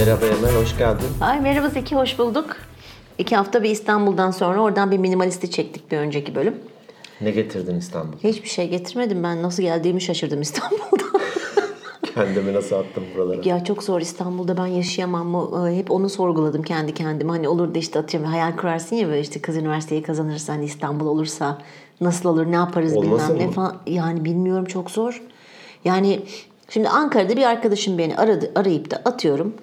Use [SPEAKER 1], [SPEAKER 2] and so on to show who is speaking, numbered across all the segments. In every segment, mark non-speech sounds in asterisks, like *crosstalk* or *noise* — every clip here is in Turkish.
[SPEAKER 1] Merhaba Emel, hoş geldin.
[SPEAKER 2] Ay merhaba Zeki, hoş bulduk. İki hafta bir İstanbul'dan sonra oradan bir minimalisti çektik bir önceki bölüm.
[SPEAKER 1] Ne getirdin İstanbul?
[SPEAKER 2] Hiçbir şey getirmedim ben. Nasıl geldiğimi şaşırdım *laughs* İstanbul'dan.
[SPEAKER 1] *laughs* Kendimi nasıl attım buralara?
[SPEAKER 2] ya çok zor İstanbul'da ben yaşayamam mı? Ee, Hep onu sorguladım kendi kendime. Hani olur da işte atıyorum hayal kurarsın ya böyle işte kız üniversiteyi kazanırsa hani İstanbul olursa nasıl olur ne yaparız
[SPEAKER 1] Olmasın
[SPEAKER 2] bilmem ne
[SPEAKER 1] mı?
[SPEAKER 2] falan. Yani bilmiyorum çok zor. Yani şimdi Ankara'da bir arkadaşım beni aradı arayıp da atıyorum.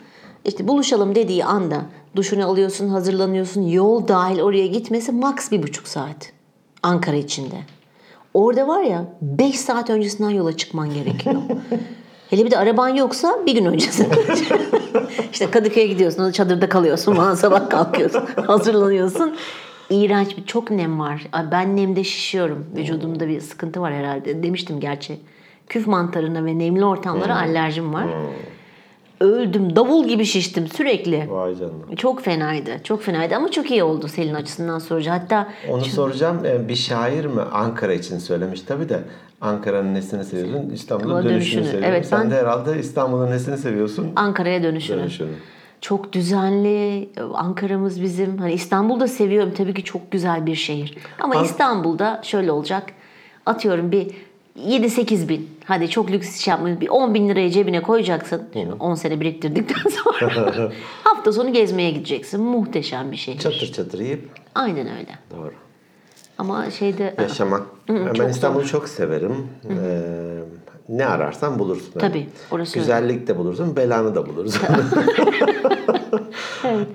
[SPEAKER 2] İşte buluşalım dediği anda duşunu alıyorsun hazırlanıyorsun yol dahil oraya gitmesi maks bir buçuk saat Ankara içinde. Orada var ya 5 saat öncesinden yola çıkman gerekiyor. Hele bir de araban yoksa bir gün öncesinden. işte Kadıköy'e gidiyorsun, orada çadırda kalıyorsun falan sabah kalkıyorsun, hazırlanıyorsun. İğrenç bir çok nem var. Ay, Ben nemde şişiyorum. Vücudumda bir sıkıntı var herhalde. Demiştim gerçi. Küf mantarına ve nemli ortamlara alerjim var. Öldüm. Davul gibi şiştim sürekli.
[SPEAKER 1] Vay canına.
[SPEAKER 2] Çok fenaydı. Çok fenaydı ama çok iyi oldu Selin açısından sorucu. Hatta
[SPEAKER 1] Onu soracağım, e, bir şair mi? Ankara için söylemiş tabii de. Ankara'nın nesini seviyorsun? İstanbul'un
[SPEAKER 2] Ama
[SPEAKER 1] dönüşünü,
[SPEAKER 2] dönüşünü,
[SPEAKER 1] seviyorsun.
[SPEAKER 2] evet,
[SPEAKER 1] Sen
[SPEAKER 2] ben-
[SPEAKER 1] de herhalde İstanbul'un nesini seviyorsun?
[SPEAKER 2] Ankara'ya dönüşünü.
[SPEAKER 1] Dönüşünü.
[SPEAKER 2] Çok düzenli. Ankara'mız bizim. Hani İstanbul'da seviyorum. Tabii ki çok güzel bir şehir. Ama
[SPEAKER 1] An-
[SPEAKER 2] İstanbul'da şöyle olacak. Atıyorum bir 7-8 bin. Hadi çok lüks iş yapmayın. Bir 10 bin lirayı cebine koyacaksın. Şimdi 10 sene biriktirdikten sonra. hafta sonu gezmeye gideceksin. Muhteşem bir şehir.
[SPEAKER 1] Çatır çatır yiyip.
[SPEAKER 2] Aynen öyle.
[SPEAKER 1] Doğru.
[SPEAKER 2] Ama şeyde...
[SPEAKER 1] Yaşamak. ben İstanbul'u çok severim. Ee, ne ararsan bulursun. Yani.
[SPEAKER 2] Tabii, orası öyle.
[SPEAKER 1] Güzellik de bulursun, belanı da bulursun.
[SPEAKER 2] *laughs*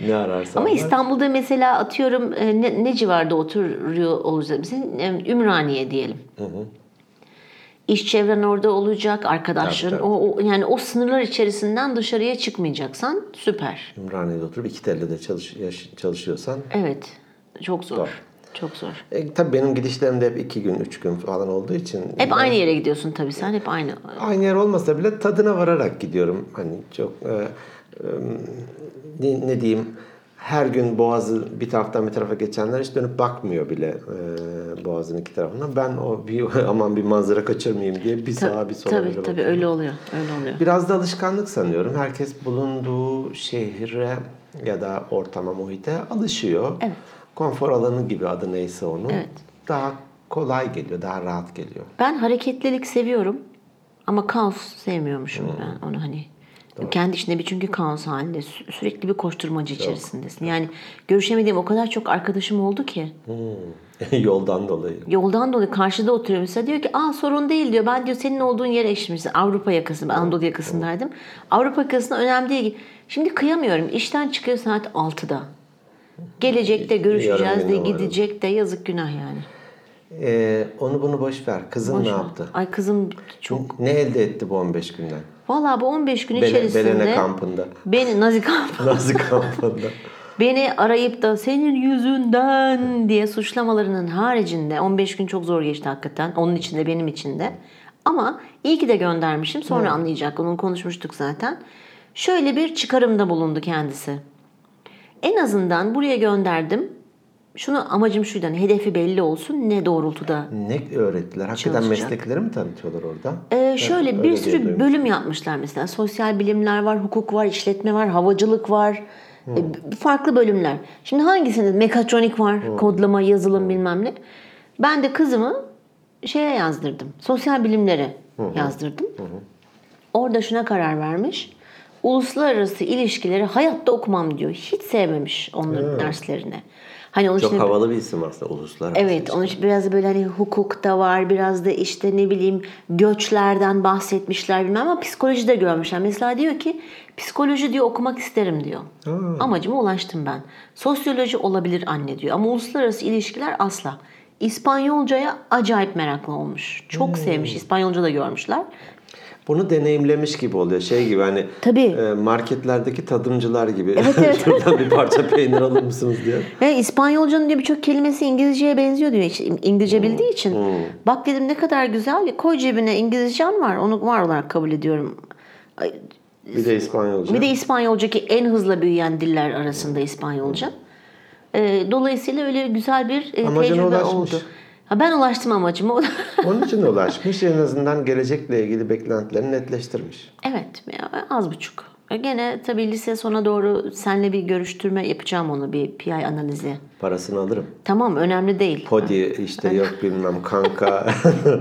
[SPEAKER 1] Ne ararsan.
[SPEAKER 2] Ama
[SPEAKER 1] var.
[SPEAKER 2] İstanbul'da mesela atıyorum e, ne, ne civarda oturuyor olacak? Bizim e, Ümraniye diyelim. İş çevren orada olacak, arkadaşların
[SPEAKER 1] Tabii, tabii.
[SPEAKER 2] O, o- yani o sınırlar içerisinden dışarıya çıkmayacaksan süper.
[SPEAKER 1] Ümraniye'de oturup iki telde de çalış, yaş- çalışıyorsan.
[SPEAKER 2] Evet. Çok zor.
[SPEAKER 1] Doğru.
[SPEAKER 2] Çok zor.
[SPEAKER 1] E, tabii benim gidişlerim de hep iki gün, üç gün falan olduğu için.
[SPEAKER 2] Hep aynı yere gidiyorsun tabii sen hep aynı.
[SPEAKER 1] Aynı yer olmasa bile tadına vararak gidiyorum. Hani çok e, e, ne, ne diyeyim her gün boğazı bir taraftan bir tarafa geçenler hiç dönüp bakmıyor bile e, boğazın iki tarafına. Ben o bir *laughs* aman bir manzara kaçırmayayım diye bir sağa bir sola
[SPEAKER 2] tabii
[SPEAKER 1] böyle
[SPEAKER 2] tabii
[SPEAKER 1] bakıyorum.
[SPEAKER 2] öyle oluyor. Öyle oluyor.
[SPEAKER 1] Biraz da alışkanlık sanıyorum. Herkes bulunduğu şehre ya da ortama, muhite alışıyor.
[SPEAKER 2] Evet.
[SPEAKER 1] Konfor alanı gibi adı neyse onun.
[SPEAKER 2] Evet.
[SPEAKER 1] Daha kolay geliyor, daha rahat geliyor. *laughs*
[SPEAKER 2] Ben hareketlilik seviyorum ama kaos sevmiyormuşum ben onu hani. Kendi içinde bir çünkü kaos halinde sü- sürekli bir koşturmacı içerisindesin. Yani görüşemediğim o kadar çok arkadaşım oldu ki.
[SPEAKER 1] Yoldan dolayı.
[SPEAKER 2] Yoldan dolayı karşıda oturuyorum mesela diyor ki aa sorun değil diyor. Ben diyor senin olduğun yere eşmişsin. Avrupa yakası, ben Anadolu yakasındaydım. Avrupa yakasına önemli değil. Şimdi kıyamıyorum. İşten çıkıyor saat 6'da. Gelecek de görüşeceğiz de
[SPEAKER 1] güne varalım.
[SPEAKER 2] gidecek de yazık günah yani.
[SPEAKER 1] Ee, onu bunu boş ver. Kızın
[SPEAKER 2] Boş
[SPEAKER 1] ne
[SPEAKER 2] ver.
[SPEAKER 1] yaptı?
[SPEAKER 2] Ay kızım çok
[SPEAKER 1] Ne elde etti bu 15 günden?
[SPEAKER 2] Vallahi bu 15 gün
[SPEAKER 1] Bele-
[SPEAKER 2] içerisinde
[SPEAKER 1] Belene kampında. *laughs*
[SPEAKER 2] beni Nazi kamp-
[SPEAKER 1] Nazi kampında.
[SPEAKER 2] beni arayıp da senin yüzünden diye suçlamalarının haricinde 15 gün çok zor geçti hakikaten. Onun için de benim için de. Ama iyi ki de göndermişim. Sonra anlayacak. Onu konuşmuştuk zaten. Şöyle bir çıkarımda bulundu kendisi. En azından buraya gönderdim. Şunu amacım şuydu. hani hedefi belli olsun. Ne doğrultuda
[SPEAKER 1] ne öğrettiler? Hakikaten
[SPEAKER 2] Çalışacak.
[SPEAKER 1] meslekleri mi tanıtıyorlar orada?
[SPEAKER 2] Ee, şöyle bir
[SPEAKER 1] öyle diye
[SPEAKER 2] sürü
[SPEAKER 1] duymuştum.
[SPEAKER 2] bölüm yapmışlar mesela. Sosyal bilimler var, hukuk var, işletme var, havacılık var. Ee, b- farklı bölümler. Şimdi hangisinde? Mekatronik var, kodlama, yazılım bilmem ne. Ben de kızımı şeye yazdırdım. Sosyal bilimlere yazdırdım. Orada şuna karar vermiş. Uluslararası ilişkileri hayatta okumam diyor. Hiç sevmemiş onların derslerini. Hani onun
[SPEAKER 1] Çok
[SPEAKER 2] için
[SPEAKER 1] havalı bir isim aslında uluslararası.
[SPEAKER 2] Evet, onun için biraz böyle hani hukuk da var, biraz da işte ne bileyim göçlerden bahsetmişler bilmem ama psikoloji de görmüşler. Mesela diyor ki psikoloji diyor okumak isterim diyor. Amacıma ulaştım ben. Sosyoloji olabilir anne diyor ama uluslararası ilişkiler asla. İspanyolcaya acayip meraklı olmuş. Çok sevmiş. İspanyolca da görmüşler.
[SPEAKER 1] Bunu deneyimlemiş gibi oluyor. Şey gibi hani
[SPEAKER 2] Tabii.
[SPEAKER 1] e, marketlerdeki tadımcılar gibi.
[SPEAKER 2] Evet,
[SPEAKER 1] *laughs*
[SPEAKER 2] evet.
[SPEAKER 1] Şuradan bir parça peynir alır mısınız diye.
[SPEAKER 2] Ve İspanyolcanın diyor birçok kelimesi İngilizceye benziyor diyor. İşte İngilizce bildiği için. Bak dedim ne kadar güzel. Koy cebine İngilizcen var. Onu var olarak kabul ediyorum. Ay,
[SPEAKER 1] Bir de İspanyolca.
[SPEAKER 2] Bir de İspanyolca ki en hızla büyüyen diller arasında İspanyolca. Ee, dolayısıyla öyle güzel bir e,
[SPEAKER 1] Amacına
[SPEAKER 2] tecrübe
[SPEAKER 1] ulaşmış.
[SPEAKER 2] oldu. Ha, ben ulaştım amacıma. *laughs*
[SPEAKER 1] Onun için ulaşmış. En azından gelecekle ilgili beklentilerini netleştirmiş.
[SPEAKER 2] evet ya, az buçuk. E, Gene tabii lise sona doğru senle bir görüştürme yapacağım onu bir PI analizi.
[SPEAKER 1] Parasını alırım.
[SPEAKER 2] Tamam önemli değil.
[SPEAKER 1] Podi işte yok bilmem
[SPEAKER 2] *laughs*
[SPEAKER 1] kanka.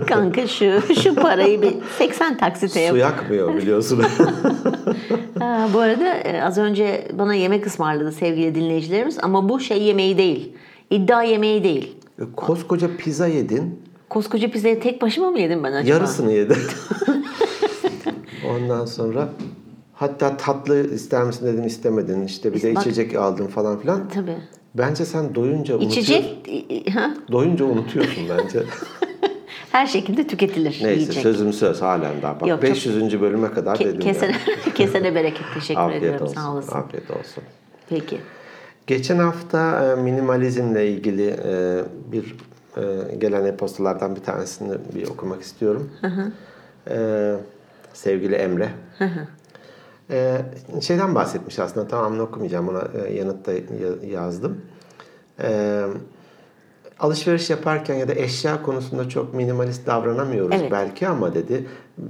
[SPEAKER 2] Kanka şu şu parayı bir 80 taksite yap.
[SPEAKER 1] Su yakmıyor biliyorsun. *laughs*
[SPEAKER 2] Ha, bu arada e, az önce bana yemek ısmarladı sevgili dinleyicilerimiz ama bu şey yemeği değil. İddia yemeği değil.
[SPEAKER 1] E, Koskoca pizza yedin.
[SPEAKER 2] Koskoca pizzayı tek başıma mı yedim ben acaba?
[SPEAKER 1] Yarısını yedi. *laughs* Ondan sonra hatta tatlı ister misin dedim istemedin. İşte bir de
[SPEAKER 2] Bak-
[SPEAKER 1] içecek aldım falan filan.
[SPEAKER 2] Tabii.
[SPEAKER 1] Bence sen doyunca unutuyorsun.
[SPEAKER 2] İçecek i- i- ha?
[SPEAKER 1] Doyunca unutuyorsun bence.
[SPEAKER 2] her şekilde
[SPEAKER 1] *laughs*
[SPEAKER 2] tüketilir.
[SPEAKER 1] Neyse
[SPEAKER 2] yiyecek.
[SPEAKER 1] sözüm söz halen daha. Bak
[SPEAKER 2] Yok, çok-
[SPEAKER 1] 500. bölüme kadar
[SPEAKER 2] Ke-
[SPEAKER 1] dedim
[SPEAKER 2] kesene,
[SPEAKER 1] ya.
[SPEAKER 2] *laughs* kesene bereket. Teşekkür
[SPEAKER 1] Afiyet
[SPEAKER 2] ediyorum.
[SPEAKER 1] olsun.
[SPEAKER 2] Sağ olasın.
[SPEAKER 1] Afiyet olsun.
[SPEAKER 2] Peki. E,
[SPEAKER 1] Geçen hafta e, minimalizmle ilgili e, bir e, gelen e-postalardan bir tanesini bir okumak istiyorum. E, sevgili Emre. E, şeyden bahsetmiş aslında tamamını okumayacağım ona e, yanıtta ya- yazdım. E, alışveriş yaparken ya da eşya konusunda çok minimalist davranamıyoruz
[SPEAKER 2] Evet.
[SPEAKER 1] belki ama dedi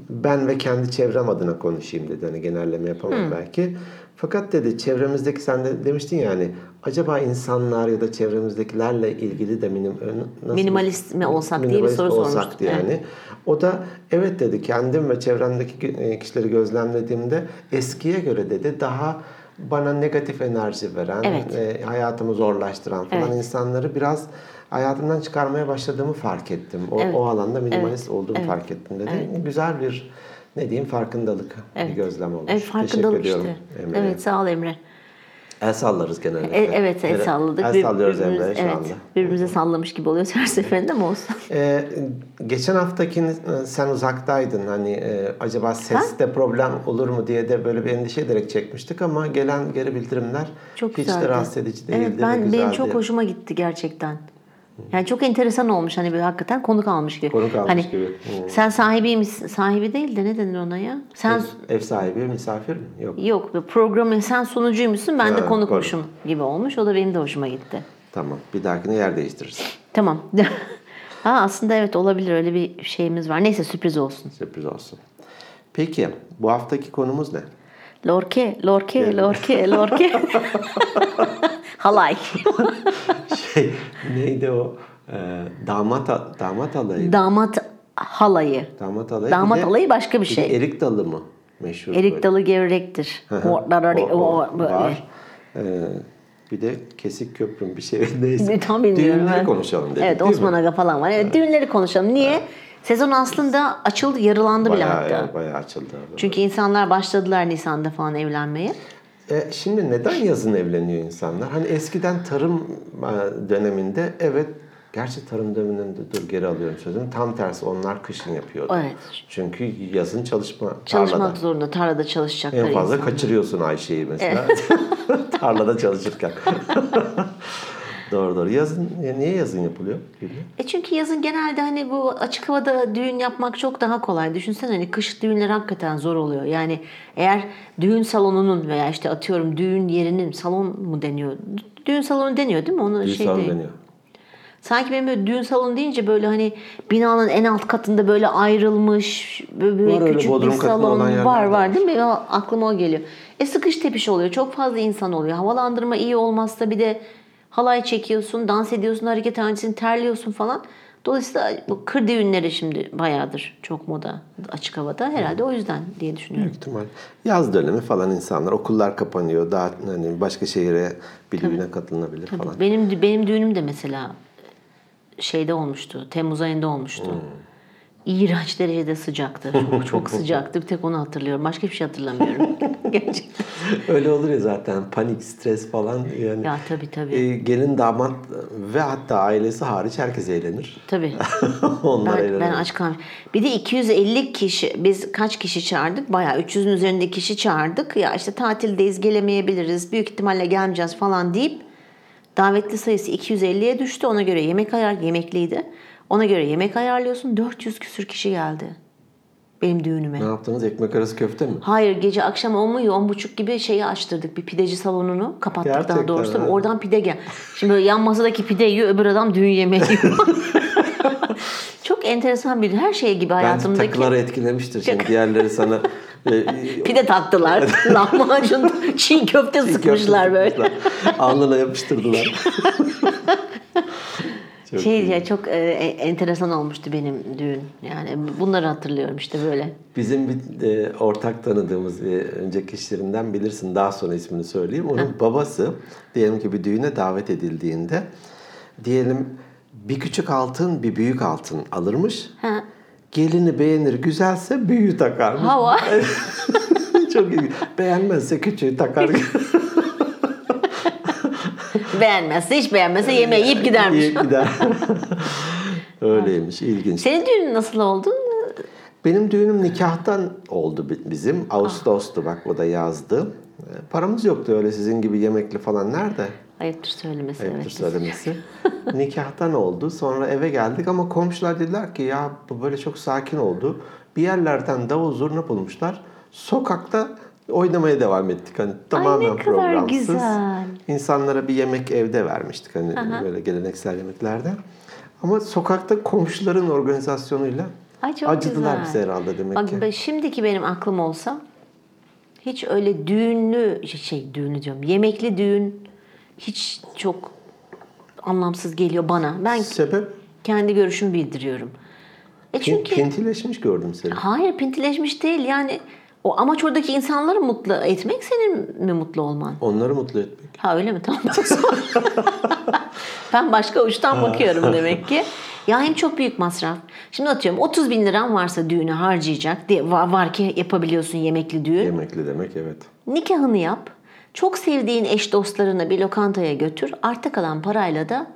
[SPEAKER 1] ben ve kendi çevrem adına konuşayım dedi. Hani genelleme yapamam belki. Fakat dedi çevremizdeki sen de demiştin yani acaba insanlar ya da çevremizdekilerle ilgili de minim, e, nasıl-
[SPEAKER 2] Minimalist mi olsak diye bir
[SPEAKER 1] minimalist
[SPEAKER 2] soru
[SPEAKER 1] olsak
[SPEAKER 2] sormuştuk.
[SPEAKER 1] diye yani. O da evet dedi kendim ve çevremdeki e, kişileri gözlemlediğimde eskiye göre dedi daha bana negatif enerji veren,
[SPEAKER 2] Evet.
[SPEAKER 1] e, hayatımı zorlaştıran falan
[SPEAKER 2] Evet.
[SPEAKER 1] insanları biraz hayatımdan çıkarmaya başladığımı fark ettim. O, o alanda minimalist olduğumu fark ettim dedi. Güzel bir ne diyeyim farkındalık bir gözlem olmuş.
[SPEAKER 2] Evet farkındalık
[SPEAKER 1] Teşekkür
[SPEAKER 2] işte.
[SPEAKER 1] ediyorum Emre'ye.
[SPEAKER 2] Evet sağ ol Emre.
[SPEAKER 1] El sallarız genellikle.
[SPEAKER 2] E, evet el salladık.
[SPEAKER 1] El
[SPEAKER 2] Bir-
[SPEAKER 1] sallıyoruz
[SPEAKER 2] birbirimiz-
[SPEAKER 1] Emre'ye şu
[SPEAKER 2] evet,
[SPEAKER 1] anda.
[SPEAKER 2] Birbirimize sallamış gibi oluyoruz her seferinde ama olsun.
[SPEAKER 1] Ee, geçen haftaki e, sen uzaktaydın hani e, acaba seste problem olur mu diye de böyle bir endişe ederek çekmiştik ama gelen geri bildirimler
[SPEAKER 2] Çok
[SPEAKER 1] hiç
[SPEAKER 2] güzeldi.
[SPEAKER 1] de rahatsız edici değildi.
[SPEAKER 2] Evet
[SPEAKER 1] ve
[SPEAKER 2] ben benim
[SPEAKER 1] güzeldi.
[SPEAKER 2] çok hoşuma gitti gerçekten. Yani çok enteresan olmuş hani böyle hakikaten konuk almış gibi.
[SPEAKER 1] Konuk almış
[SPEAKER 2] hani,
[SPEAKER 1] gibi. Hmm.
[SPEAKER 2] Sen sahibiymişsin. Sahibi değil de ne denir ona ya? Sen
[SPEAKER 1] Ev sahibi misafir mi? Yok.
[SPEAKER 2] yok programın sen sunucuymuşsun ben de
[SPEAKER 1] Ha,
[SPEAKER 2] konukmuşum gibi olmuş. O da benim de hoşuma gitti.
[SPEAKER 1] Tamam. Bir dahakine yer değiştiririz.
[SPEAKER 2] Tamam. *laughs* ha, aslında evet olabilir öyle bir şeyimiz var. Neyse sürpriz olsun.
[SPEAKER 1] Sürpriz olsun. Peki bu haftaki konumuz
[SPEAKER 2] *laughs*
[SPEAKER 1] ne?
[SPEAKER 2] Lorke, lorke,
[SPEAKER 1] *laughs*
[SPEAKER 2] lorke, lorke. Halay.
[SPEAKER 1] Şey neydi o? Ee, damat damat alayı.
[SPEAKER 2] Damat halayı.
[SPEAKER 1] Damat alayı. bir
[SPEAKER 2] Damat
[SPEAKER 1] de-
[SPEAKER 2] alayı başka bir
[SPEAKER 1] de
[SPEAKER 2] şey.
[SPEAKER 1] Erik dalı mı? Meşhur böyle.
[SPEAKER 2] Erik dalı gevrektir. Ortlar
[SPEAKER 1] O-
[SPEAKER 2] arı-
[SPEAKER 1] o
[SPEAKER 2] o- böyle.
[SPEAKER 1] var. Ee, bir de kesik köprüm bir şey *laughs* neyse.
[SPEAKER 2] Tam bilmiyorum.
[SPEAKER 1] Düğünleri
[SPEAKER 2] ben.
[SPEAKER 1] konuşalım dedik
[SPEAKER 2] Evet
[SPEAKER 1] değil
[SPEAKER 2] Osman
[SPEAKER 1] mi?
[SPEAKER 2] Aga falan var. Evet düğünleri konuşalım. Niye? Sezon aslında açıldı, yarılandı bile
[SPEAKER 1] Bayağı,
[SPEAKER 2] hatta.
[SPEAKER 1] ya, bayağı açıldı.
[SPEAKER 2] Çünkü insanlar başladılar Nisan'da falan evlenmeye.
[SPEAKER 1] E, şimdi neden yazın evleniyor insanlar? Hani eskiden tarım e, döneminde evet Gerçi tarım döneminde dur geri alıyorum sözümü. Tam tersi onlar kışın yapıyordu.
[SPEAKER 2] Evet.
[SPEAKER 1] Çünkü yazın çalışma
[SPEAKER 2] Çalışmak
[SPEAKER 1] tarlada.
[SPEAKER 2] zorunda, tarlada çalışacakları
[SPEAKER 1] En fazla
[SPEAKER 2] insan.
[SPEAKER 1] kaçırıyorsun Ayşe'yi mesela. *laughs* tarlada çalışırken. *laughs* doğru doğru. Yazın e, niye yazın yapılıyor? Bilmiyorum.
[SPEAKER 2] E çünkü yazın genelde hani bu açık havada düğün yapmak çok daha kolay. Düşünsene hani kış düğünler hakikaten zor oluyor. Yani eğer düğün salonunun veya işte atıyorum düğün yerinin salon mu deniyor? Dü- Düğün salonu deniyor değil mi? Onu
[SPEAKER 1] Düğün
[SPEAKER 2] şey
[SPEAKER 1] salonu
[SPEAKER 2] değil.
[SPEAKER 1] deniyor.
[SPEAKER 2] Sanki benim böyle düğün salonu deyince böyle hani binanın en alt katında böyle ayrılmış böyle, böyle
[SPEAKER 1] Var öyle
[SPEAKER 2] küçük
[SPEAKER 1] bodrum
[SPEAKER 2] bir
[SPEAKER 1] katında
[SPEAKER 2] salon
[SPEAKER 1] olan yerler
[SPEAKER 2] var var
[SPEAKER 1] var.
[SPEAKER 2] değil mi? Ya, aklıma o geliyor. E sıkış tepiş oluyor. Çok fazla insan oluyor. Havalandırma iyi olmazsa bir de halay çekiyorsun, dans ediyorsun, hareket hanesini terliyorsun falan. Dolayısıyla bu kır düğünleri şimdi bayağıdır çok moda açık havada. Herhalde
[SPEAKER 1] Hmm.
[SPEAKER 2] o yüzden diye düşünüyorum.
[SPEAKER 1] Büyük ihtimal. Yaz dönemi falan insanlar okullar kapanıyor. Daha hani başka şehire bir düğüne katılınabilir falan. *laughs*
[SPEAKER 2] Benim benim düğünüm de mesela e, şeyde olmuştu. Temmuz ayında olmuştu. İğrenç derecede sıcaktı. Çok, çok sıcaktı. Bir tek onu hatırlıyorum. Başka bir şey hatırlamıyorum. Gerçekten.
[SPEAKER 1] Öyle olur ya zaten panik, stres falan yani.
[SPEAKER 2] Ya tabii tabii.
[SPEAKER 1] E, gelin damat ve hatta ailesi hariç herkes eğlenir. *laughs*
[SPEAKER 2] Tabii.
[SPEAKER 1] Onlar
[SPEAKER 2] Ben,
[SPEAKER 1] eğlenir.
[SPEAKER 2] ben aç kalmış. Bir de 250 kişi biz kaç kişi çağırdık? Bayağı 300'ün üzerinde kişi çağırdık. Ya işte tatildeyiz gelemeyebiliriz. Büyük ihtimalle gelmeyeceğiz falan deyip davetli sayısı 250'ye düştü. Ona göre yemek ayar yemekliydi. Ona göre yemek ayarlıyorsun. 400 küsür kişi geldi. Benim düğünüme.
[SPEAKER 1] Ne yaptınız? Ekmek arası köfte mi?
[SPEAKER 2] Hayır gece akşam 10 mu 10 buçuk gibi şeyi açtırdık. Bir pideci salonunu kapattık daha
[SPEAKER 1] Gerçekten
[SPEAKER 2] doğrusu. Tabii
[SPEAKER 1] ha. *laughs*
[SPEAKER 2] Oradan pide gel. Şimdi böyle yan masadaki pide yiyor öbür adam düğün yemeği yiyor. Çok enteresan bir her şey gibi
[SPEAKER 1] Bence
[SPEAKER 2] hayatımdaki.
[SPEAKER 1] takıları etkilemiştir. Şimdi diğerleri
[SPEAKER 2] *laughs*
[SPEAKER 1] sana e,
[SPEAKER 2] Pide taktılar. *laughs* Lahmacun çiğ köfte sıkmışlar böyle.
[SPEAKER 1] Alnına
[SPEAKER 2] *laughs*
[SPEAKER 1] yapıştırdılar. Çok
[SPEAKER 2] şey ya çok e, e, enteresan olmuştu benim düğün. Yani bunları hatırlıyorum işte böyle.
[SPEAKER 1] Bizim bir e, ortak tanıdığımız e, önceki işlerinden bilirsin. Daha sonra ismini söyleyeyim. Onun babası diyelim ki bir düğüne davet edildiğinde diyelim bir küçük altın bir büyük altın alırmış.
[SPEAKER 2] Ha.
[SPEAKER 1] Gelini beğenir güzelse büyüğü takarmış.
[SPEAKER 2] Hava.
[SPEAKER 1] *laughs* Çok iyi. Beğenmezse küçüğü takar. *laughs*
[SPEAKER 2] beğenmezse hiç beğenmezse yemeği yiyip gidermiş.
[SPEAKER 1] Yiyip gider. Öyleymiş. ilginç.
[SPEAKER 2] Senin düğünün nasıl oldu?
[SPEAKER 1] Benim düğünüm nikahtan oldu bi- bizim. Ağustos'tu bak o da yazdı. E, Paramız yoktu öyle sizin gibi yemekli falan nerede?
[SPEAKER 2] Ayıptır söylemesi
[SPEAKER 1] Ayıptır
[SPEAKER 2] evet.
[SPEAKER 1] söylemesi. *laughs* nikahtan oldu. Sonra eve geldik ama komşular dediler ki ya bu böyle çok sakin oldu. Bir yerlerden davul zurna bulmuşlar. Sokakta oynamaya devam ettik. Hani tamamen
[SPEAKER 2] ne kadar
[SPEAKER 1] programsız.
[SPEAKER 2] güzel.
[SPEAKER 1] İnsanlara bir yemek evde vermiştik hani böyle geleneksel yemeklerde. Ama sokakta komşuların organizasyonuyla
[SPEAKER 2] Ay çok
[SPEAKER 1] acıdılar
[SPEAKER 2] güzel.
[SPEAKER 1] bize herhalde demek
[SPEAKER 2] Bak
[SPEAKER 1] ki.
[SPEAKER 2] ben- şimdiki benim aklım olsa hiç öyle düğünlü şey düğünlü diyorum. Yemekli düğün hiç çok anlamsız geliyor bana. Ben
[SPEAKER 1] Sebep
[SPEAKER 2] kendi görüşümü bildiriyorum. E
[SPEAKER 1] pin-
[SPEAKER 2] çünkü Ah.
[SPEAKER 1] pintileşmiş gördüm seni.
[SPEAKER 2] hayır pintileşmiş değil yani o amaç oradaki insanları mutlu etmek senin mi mutlu olman?
[SPEAKER 1] Onları mutlu etmek.
[SPEAKER 2] Ha öyle mi? Tamam. ben başka uçtan bakıyorum demek ki. Ya hem çok büyük masraf. Şimdi atıyorum 30 bin liran varsa düğünü harcayacak diye var, var ki yapabiliyorsun yemekli düğün.
[SPEAKER 1] Yemekli demek evet.
[SPEAKER 2] Nikahını yap. Çok sevdiğin eş dostlarını bir lokantaya götür. Arta kalan parayla da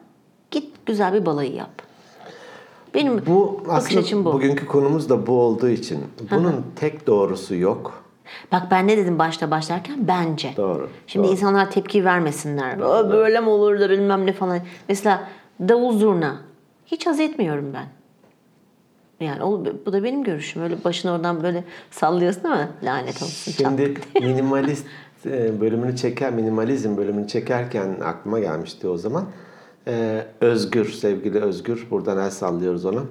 [SPEAKER 2] git güzel bir balayı yap. Benim
[SPEAKER 1] Bu
[SPEAKER 2] bakış açım
[SPEAKER 1] aslında
[SPEAKER 2] bu.
[SPEAKER 1] bugünkü konumuz da bu olduğu için bunun tek doğrusu yok.
[SPEAKER 2] Bak ben ne dedim başta başlarken bence.
[SPEAKER 1] Doğru,
[SPEAKER 2] Şimdi
[SPEAKER 1] doğru.
[SPEAKER 2] insanlar tepki vermesinler. "Aa, Böyle mi olur da bilmem ne falan. Mesela davul zurna. Hiç haz etmiyorum ben. Yani o, bu da benim görüşüm. Öyle başını oradan böyle sallıyorsun ama lanet olsun.
[SPEAKER 1] Şimdi minimalist e, bölümünü çeker, minimalizm bölümünü çekerken aklıma gelmişti o zaman. E, Özgür, sevgili Özgür, buradan el sallıyoruz ona.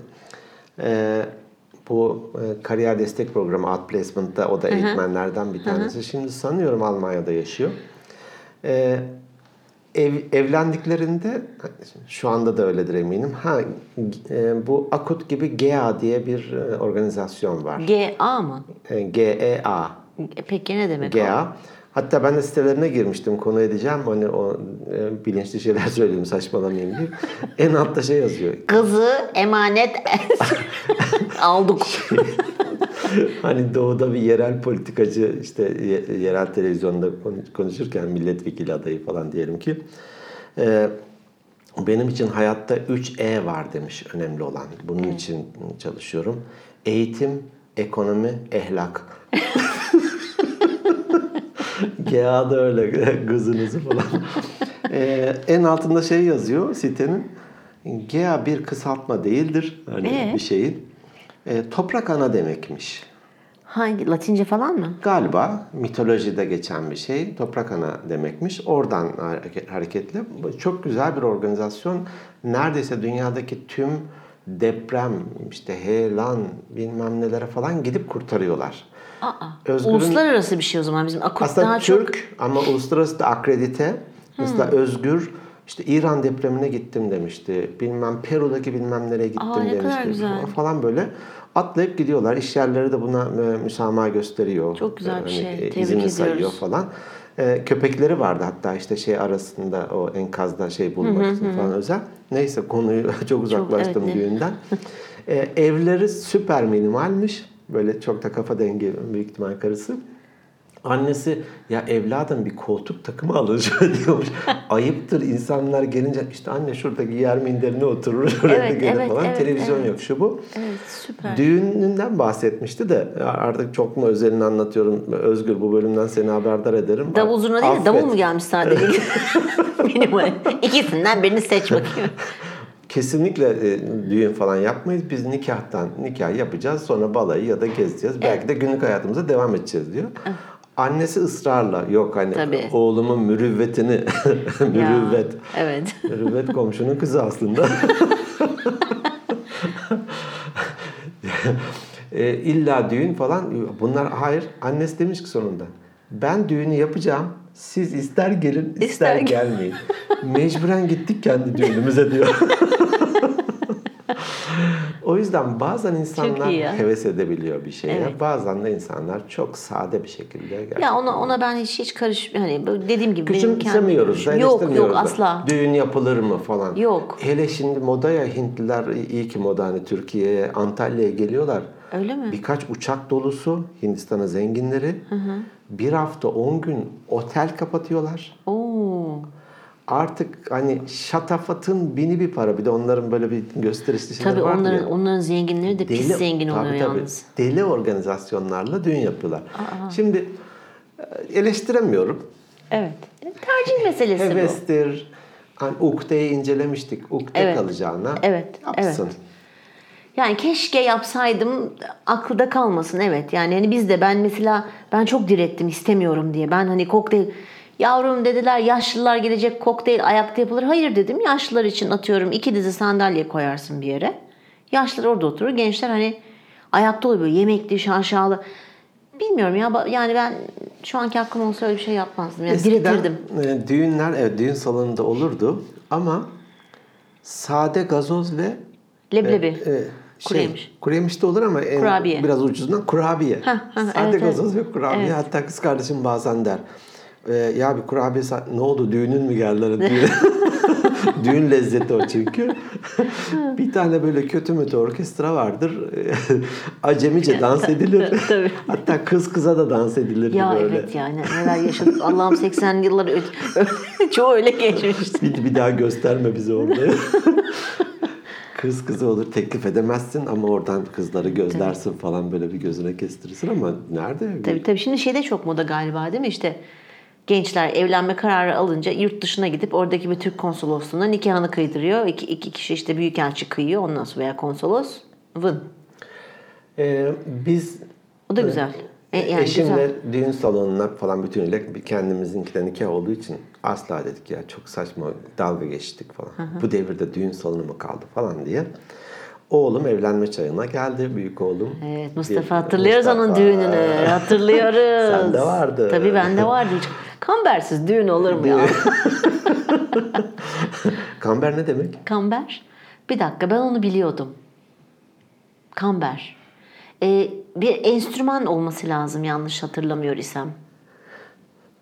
[SPEAKER 1] E, bu e, kariyer destek programı Outplacement'ta o da eğitmenlerden bir tanesi. Şimdi sanıyorum Almanya'da yaşıyor. E, ev, evlendiklerinde şu anda da öyledir eminim. Ha e, bu Akut gibi GEA diye bir e, organizasyon var.
[SPEAKER 2] GA mı?
[SPEAKER 1] E, GEA.
[SPEAKER 2] E, Peki ne demek o?
[SPEAKER 1] GA. Hatta ben de sitelerine girmiştim konu edeceğim. Hani o e, bilinçli şeyler *laughs* söyleyeyim saçmalamayayım diye. en altta şey yazıyor.
[SPEAKER 2] Kızı emanet *laughs* aldık.
[SPEAKER 1] *laughs* Hani doğuda bir yerel politikacı işte ye- yerel televizyonda konu- konuşurken milletvekili adayı falan diyelim ki. e, benim için hayatta 3E var demiş önemli olan. Bunun için çalışıyorum. Eğitim, ekonomi, ehlak. *laughs* GA da öyle *laughs* kızınızı falan. Ee, en altında şey yazıyor sitenin. GA bir kısaltma değildir. Hani
[SPEAKER 2] Ee?
[SPEAKER 1] bir şeyin. Ee, toprak ana demekmiş.
[SPEAKER 2] Hangi? Latince falan mı?
[SPEAKER 1] Galiba mitolojide geçen bir şey toprak ana demekmiş. Oradan hareke- hareketle bu çok güzel bir organizasyon. Neredeyse dünyadaki tüm deprem, işte heyelan bilmem nelere falan gidip kurtarıyorlar.
[SPEAKER 2] Aa,
[SPEAKER 1] Özgür'ün-
[SPEAKER 2] Uluslararası bir şey o zaman bizim akut
[SPEAKER 1] Aslında
[SPEAKER 2] daha çok Hmm.
[SPEAKER 1] Türk ama uluslararası da akredite. Mesela Özgür işte İran depremine gittim demişti. Bilmem Peru'daki bilmem nereye gittim
[SPEAKER 2] Aa, ne
[SPEAKER 1] demişti.
[SPEAKER 2] kadar güzel.
[SPEAKER 1] Falan böyle atlayıp gidiyorlar. İş yerleri de buna e, müsamaha gösteriyor.
[SPEAKER 2] Çok güzel bir
[SPEAKER 1] Hani,
[SPEAKER 2] şey.
[SPEAKER 1] e,
[SPEAKER 2] Tebrik
[SPEAKER 1] izin
[SPEAKER 2] ediyoruz.
[SPEAKER 1] sayıyor falan. E, köpekleri vardı hatta işte şey arasında o enkazda şey bulmak için falan özel. Neyse konuyu *laughs* çok uzaklaştım
[SPEAKER 2] evet, ne- *laughs*
[SPEAKER 1] düğünden. E, evleri süper minimalmiş. Böyle çok da kafa dengi büyük ihtimal karısı. Annesi ya evladım bir koltuk takımı alın şöyle *laughs* diyormuş. Ayıptır insanlar gelince işte anne şuradaki yer minderine oturur. *laughs* oraya
[SPEAKER 2] Evet,
[SPEAKER 1] gelir
[SPEAKER 2] evet,
[SPEAKER 1] falan.
[SPEAKER 2] evet,
[SPEAKER 1] Televizyon
[SPEAKER 2] evet.
[SPEAKER 1] yok şu bu.
[SPEAKER 2] Evet, süper.
[SPEAKER 1] Düğününden bahsetmişti de artık çok mu özelini anlatıyorum. Özgür bu bölümden seni haberdar ederim.
[SPEAKER 2] Davul zurna değil de davul
[SPEAKER 1] Affet.
[SPEAKER 2] mu gelmiş sadece?
[SPEAKER 1] *laughs*
[SPEAKER 2] Benim öyle. İkisinden birini seç
[SPEAKER 1] *laughs*
[SPEAKER 2] bakayım.
[SPEAKER 1] Kesinlikle e, düğün falan yapmayız. Biz nikahtan nikah yapacağız. Sonra balayı ya da gezeceğiz. Belki de günlük hayatımıza devam edeceğiz diyor. Annesi ısrarla yok hani
[SPEAKER 2] Tabii.
[SPEAKER 1] oğlumun mürüvvetini *laughs*
[SPEAKER 2] Ya,
[SPEAKER 1] mürüvvet.
[SPEAKER 2] Evet.
[SPEAKER 1] Mürüvvet komşunun kızı aslında. *laughs* e, illa düğün falan. Bunlar hayır. Annesi demiş ki sonunda. Ben düğünü yapacağım. Siz ister gelin ister,
[SPEAKER 2] İster gel-
[SPEAKER 1] gelmeyin. Mecburen gittik kendi düğünümüze diyor. *laughs* o yüzden bazen insanlar
[SPEAKER 2] iyi ya.
[SPEAKER 1] heves edebiliyor bir şeye.
[SPEAKER 2] Evet.
[SPEAKER 1] Bazen de insanlar çok sade bir şekilde gerçekten
[SPEAKER 2] Ya ona ona ben hiç hiç karış hani böyle dediğim gibi benim
[SPEAKER 1] Küçümsemiyoruz,
[SPEAKER 2] kendim-
[SPEAKER 1] da,
[SPEAKER 2] Yok yok
[SPEAKER 1] eleştirmiyoruz da.
[SPEAKER 2] asla.
[SPEAKER 1] Düğün yapılır mı falan.
[SPEAKER 2] Yok.
[SPEAKER 1] Hele şimdi moda ya Hintliler iyi ki moda hani Türkiye'ye, Antalya'ya geliyorlar.
[SPEAKER 2] Öyle mi?
[SPEAKER 1] Birkaç uçak dolusu Hindistan'a zenginleri. Bir hafta 10 gün otel kapatıyorlar.
[SPEAKER 2] Oo.
[SPEAKER 1] Artık hani şatafatın bini bir para. Bir de onların böyle bir gösterişli şeyleri
[SPEAKER 2] Tabii
[SPEAKER 1] vardır
[SPEAKER 2] onların
[SPEAKER 1] ya.
[SPEAKER 2] onların zenginleri de pis zengin
[SPEAKER 1] tabii,
[SPEAKER 2] oluyor
[SPEAKER 1] tabii.
[SPEAKER 2] yalnız.
[SPEAKER 1] Deli organizasyonlarla düğün yapıyorlar. Şimdi e, eleştiremiyorum.
[SPEAKER 2] Evet. Tercih meselesi bu.
[SPEAKER 1] Hevestir. Hani ukdeyi incelemiştik. Ukde
[SPEAKER 2] Evet.
[SPEAKER 1] kalacağına
[SPEAKER 2] Evet,
[SPEAKER 1] yapsın.
[SPEAKER 2] Yani keşke yapsaydım akılda kalmasın evet. Yani hani biz de ben mesela ben çok direttim istemiyorum diye. Ben hani kokteyl yavrum dediler yaşlılar gelecek kokteyl ayakta yapılır. Hayır dedim yaşlılar için atıyorum iki dizi sandalye koyarsın bir yere. Yaşlılar orada oturur gençler hani ayakta oluyor böyle yemekli şaşalı. Bilmiyorum ya ba- yani ben şu anki aklım olsa öyle bir şey yapmazdım. Yani diretirdim.
[SPEAKER 1] e, düğünler evet düğün salonunda olurdu ama sade gazoz ve
[SPEAKER 2] Leblebi.
[SPEAKER 1] e, şey,
[SPEAKER 2] Kuru yemiş.
[SPEAKER 1] kuru yemiş de olur ama en,
[SPEAKER 2] Kurabiye.
[SPEAKER 1] biraz ucuzundan kurabiye.
[SPEAKER 2] Hah, hah,
[SPEAKER 1] sade
[SPEAKER 2] evet,
[SPEAKER 1] gazoz
[SPEAKER 2] evet.
[SPEAKER 1] ve kurabiye.
[SPEAKER 2] Evet.
[SPEAKER 1] Hatta kız kardeşim bazen der. e, ya bir kurabiye sa- ne oldu düğünün mü geldi? Hani
[SPEAKER 2] *laughs*
[SPEAKER 1] düğün, düğün lezzeti o çünkü. bir tane böyle kötü mütü orkestra vardır. *laughs* Acemice dans edilir.
[SPEAKER 2] Tabii.
[SPEAKER 1] Hatta kız kıza da dans edilir
[SPEAKER 2] Ya
[SPEAKER 1] böyle.
[SPEAKER 2] evet yani neler yaşadık. Allah'ım 80 yılları ö- *laughs* çoğu öyle geçmişti.
[SPEAKER 1] Bir, bir daha gösterme bizi
[SPEAKER 2] *laughs*
[SPEAKER 1] orada. Kız kızı olur teklif edemezsin ama oradan kızları gözlersin falan böyle bir gözüne kestirirsin ama nerede?
[SPEAKER 2] Tabii tabii şimdi şeyde çok moda galiba değil mi işte gençler evlenme kararı alınca yurt dışına gidip oradaki bir Türk konsolosluğuna nikahını kıydırıyor. İki, iki kişi işte büyükelçi kıyıyor ondan sonra veya konsolos vın.
[SPEAKER 1] Ee, biz
[SPEAKER 2] O da güzel. E, yani
[SPEAKER 1] eşimle
[SPEAKER 2] güzel.
[SPEAKER 1] düğün salonuna falan bütünüyle bir kendimizinkinden nikah olduğu için asla dedik ya çok saçma dalga geçtik falan. Bu devirde düğün salonu mu kaldı falan diye. Oğlum evlenme çayına geldi büyük oğlum.
[SPEAKER 2] Evet
[SPEAKER 1] Bir-
[SPEAKER 2] Mustafa hatırlıyoruz onun
[SPEAKER 1] Mustafa.
[SPEAKER 2] düğününü. Hatırlıyoruz.
[SPEAKER 1] *laughs* Sende vardı.
[SPEAKER 2] Tabii bende vardı. Hiç kambersiz düğün olur mu ya?
[SPEAKER 1] Kamber ne demek?
[SPEAKER 2] *laughs* Kamber. Bir dakika ben onu biliyordum. Kamber. Ee, bir enstrüman olması lazım yanlış hatırlamıyor isem.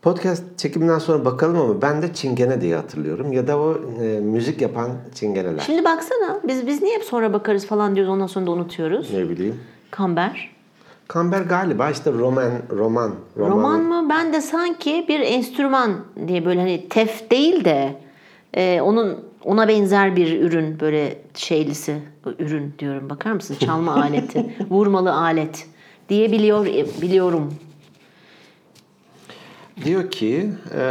[SPEAKER 1] Podcast çekiminden sonra bakalım ama ben de çingene diye hatırlıyorum. Ya da o e, müzik yapan çingeneler.
[SPEAKER 2] Şimdi baksana biz biz niye hep sonra bakarız falan diyoruz ondan sonra da unutuyoruz.
[SPEAKER 1] Ne bileyim.
[SPEAKER 2] Kamber.
[SPEAKER 1] Kamber galiba işte roman, roman, roman.
[SPEAKER 2] Roman mı? Ben de sanki bir enstrüman diye böyle hani tef değil de e, onun ona benzer bir ürün böyle şeylisi ürün diyorum bakar mısın
[SPEAKER 1] *laughs*
[SPEAKER 2] çalma aleti vurmalı alet diye biliyor e, biliyorum.
[SPEAKER 1] Diyor ki e,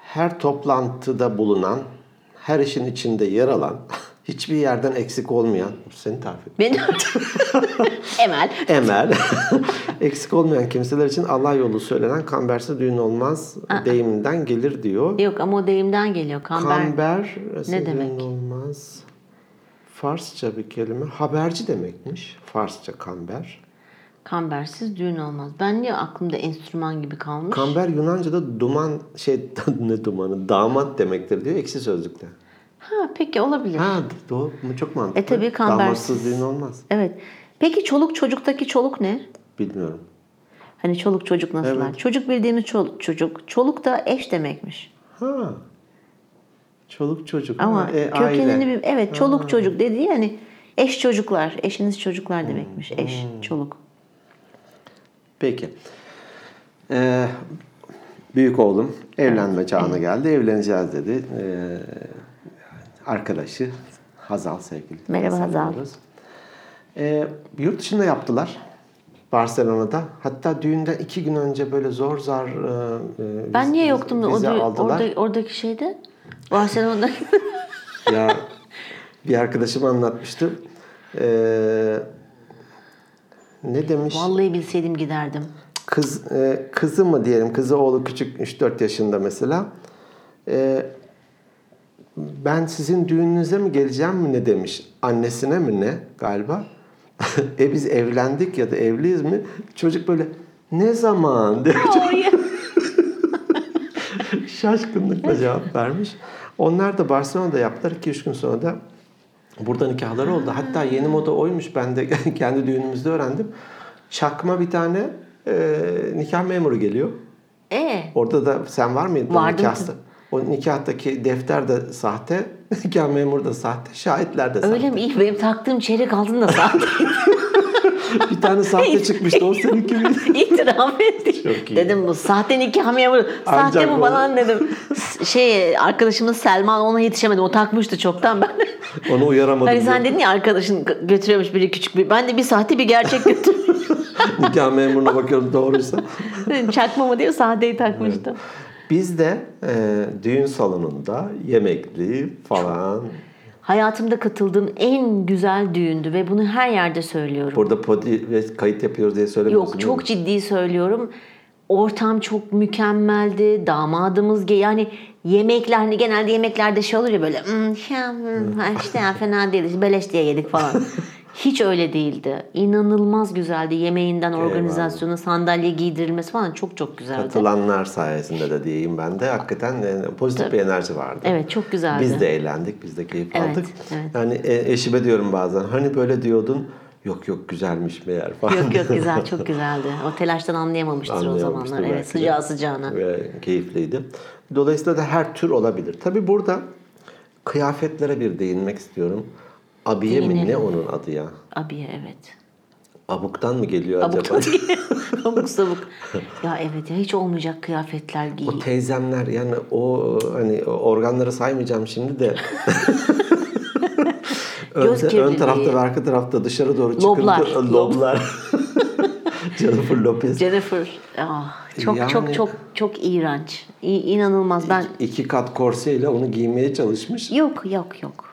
[SPEAKER 1] her toplantıda bulunan, her işin içinde yer alan, *laughs* hiçbir yerden eksik olmayan, seni tarif et.
[SPEAKER 2] Ben *laughs* Emel
[SPEAKER 1] Emel. *laughs* eksik olmayan kimseler için Allah yolu söylenen kambersiz düğün olmaz deyiminden gelir diyor.
[SPEAKER 2] Yok ama o deyimden geliyor. Kamber.
[SPEAKER 1] Kamber
[SPEAKER 2] Ne demek?
[SPEAKER 1] e, senin olmaz. Farsça bir kelime. Haberci demekmiş. Farsça kamber.
[SPEAKER 2] Kambersiz düğün olmaz. Ben niye aklımda enstrüman gibi kalmış?
[SPEAKER 1] Kamber Yunanca'da duman şey *laughs* ne dumanı damat demektir diyor ekşi sözlükte.
[SPEAKER 2] ha peki olabilir.
[SPEAKER 1] Ha doğru mu çok mantıklı.
[SPEAKER 2] E tabii kambersiz.
[SPEAKER 1] Damatsız düğün olmaz.
[SPEAKER 2] Evet. Peki çoluk çocuktaki çoluk ne?
[SPEAKER 1] Bilmiyorum.
[SPEAKER 2] Hani çoluk çocuk nasıllar? Çocuk bildiğimiz çoluk çocuk. Çoluk da eş demekmiş.
[SPEAKER 1] Ha. Çoluk çocuk.
[SPEAKER 2] Ama
[SPEAKER 1] ha, e,
[SPEAKER 2] kökenini
[SPEAKER 1] aile.
[SPEAKER 2] bir evet çoluk çocuk dediği yani eş çocuklar, eşiniz çocuklar
[SPEAKER 1] Hmm.
[SPEAKER 2] demekmiş. Eş, çoluk.
[SPEAKER 1] Peki. Ee, büyük oğlum evlenme çağına geldi. Evleneceğiz dedi. Ee, arkadaşı Hazal sevgili.
[SPEAKER 2] Merhaba Hazal.
[SPEAKER 1] diyoruz. Ee, yurt dışında yaptılar. Barcelona'da. Hatta düğünden iki gün önce böyle zor zar e, e,
[SPEAKER 2] Ben
[SPEAKER 1] viz-
[SPEAKER 2] niye
[SPEAKER 1] viz-
[SPEAKER 2] yoktum da o
[SPEAKER 1] vize
[SPEAKER 2] düğün-
[SPEAKER 1] aldılar.
[SPEAKER 2] orada, oradaki şeyde?
[SPEAKER 1] *laughs*
[SPEAKER 2] Barcelona'da
[SPEAKER 1] ya bir arkadaşım anlatmıştı. Ee, ne demiş?
[SPEAKER 2] vallahi bilseydim giderdim.
[SPEAKER 1] kız e, kızı mı diyelim kızı oğlu küçük 3-4 yaşında mesela E, ben sizin düğününüze mi geleceğim mi ne demiş. Annesine mi ne galiba. *laughs* e biz evlendik ya da evliyiz mi? Çocuk böyle ne zaman *laughs* diye şaşkınlıkla cevap vermiş. Onlar da Barcelona'da yaptılar. 2-3 gün sonra da burada nikahları oldu. Hatta yeni moda oymuş. Ben de *laughs* kendi düğünümüzde öğrendim. Çakma bir tane e, nikah memuru geliyor.
[SPEAKER 2] e
[SPEAKER 1] Orada da sen var mıydın
[SPEAKER 2] Vardım
[SPEAKER 1] nikahta? O nikahtaki defter de sahte, *laughs* nikah memuru da sahte, şahitler de sahte.
[SPEAKER 2] öyle mi? İyi benim taktığım çeyrek altın da sahte.
[SPEAKER 1] Bir tane sahte çıkmıştı o seninki miydi?
[SPEAKER 2] *laughs* İtiraf etti.
[SPEAKER 1] Çok iyi.
[SPEAKER 2] Dedim bu sahte nikah memuru. Sahte
[SPEAKER 1] Ancak
[SPEAKER 2] bu
[SPEAKER 1] o-
[SPEAKER 2] falan dedim. S- Şey arkadaşımız Selman ona yetişemedim. O takmıştı çoktan ben.
[SPEAKER 1] *laughs* Onu uyaramadım.
[SPEAKER 2] Hani sen
[SPEAKER 1] diyor.
[SPEAKER 2] dedin ya arkadaşın g- götürüyormuş biri küçük bir. Ben de bir sahte bir gerçek *laughs* götürdüm.
[SPEAKER 1] nikah memuruna bakıyorum doğruysa.
[SPEAKER 2] Çakma mı diyor sahteyi takmıştım.
[SPEAKER 1] Biz de e, düğün salonunda yemekli falan.
[SPEAKER 2] Hayatımda katıldığım en güzel düğündü ve bunu her yerde söylüyorum.
[SPEAKER 1] Burada podi ve kayıt yapıyoruz diye söylemiyorsun.
[SPEAKER 2] Yok
[SPEAKER 1] değil mi?
[SPEAKER 2] çok ciddi söylüyorum. Ortam çok mükemmeldi. Damadımız ge- yani yemekler hani genelde yemeklerde şey olur ya böyle "Hmm, ya, hmm, ha işte ya, fena değil işte beleş diye
[SPEAKER 1] *laughs*
[SPEAKER 2] yedik falan. Hiç öyle değildi. İnanılmaz güzeldi. Yemeğinden organizasyonu, sandalye giydirilmesi falan çok çok güzeldi.
[SPEAKER 1] Katılanlar sayesinde de diyeyim ben de. Hakikaten e, pozitif bir enerji vardı.
[SPEAKER 2] Evet çok güzeldi.
[SPEAKER 1] Biz de eğlendik, biz de keyif
[SPEAKER 2] Evet,
[SPEAKER 1] aldık.
[SPEAKER 2] evet.
[SPEAKER 1] Yani e, eşime diyorum bazen hani böyle diyordun yok yok güzelmiş meğer falan.
[SPEAKER 2] Yok yok güzel çok güzeldi. O telaştan anlayamamıştır o
[SPEAKER 1] Anlayamamıştır
[SPEAKER 2] zamanlar.
[SPEAKER 1] belki
[SPEAKER 2] Evet
[SPEAKER 1] de.
[SPEAKER 2] sıcağı
[SPEAKER 1] *laughs*
[SPEAKER 2] sıcağına.
[SPEAKER 1] Ve keyifliydi. Dolayısıyla da her tür olabilir. Tabi burada kıyafetlere bir değinmek istiyorum. Abiye mi ne
[SPEAKER 2] Değinelim.
[SPEAKER 1] onun adı ya?
[SPEAKER 2] Abiye evet.
[SPEAKER 1] Abuktan mı geliyor acaba?
[SPEAKER 2] Abuk abuk sabuk. Ya evet ya hiç olmayacak kıyafetler
[SPEAKER 1] *laughs*
[SPEAKER 2] giy.
[SPEAKER 1] O teyzemler yani o hani o organları saymayacağım şimdi
[SPEAKER 2] *laughs*
[SPEAKER 1] de.
[SPEAKER 2] Göz
[SPEAKER 1] Önde- ön
[SPEAKER 2] kirliliği.
[SPEAKER 1] tarafta ve arka tarafta dışarı doğru çıkıntı.
[SPEAKER 2] Loblar.
[SPEAKER 1] Loblar. *laughs* Jennifer Lopez.
[SPEAKER 2] Jennifer ah, çok
[SPEAKER 1] Yani-
[SPEAKER 2] çok çok çok iğrenç. İ- inanılmaz ben
[SPEAKER 1] İki kat korseyle onu giymeye çalışmış.
[SPEAKER 2] yok yok yok.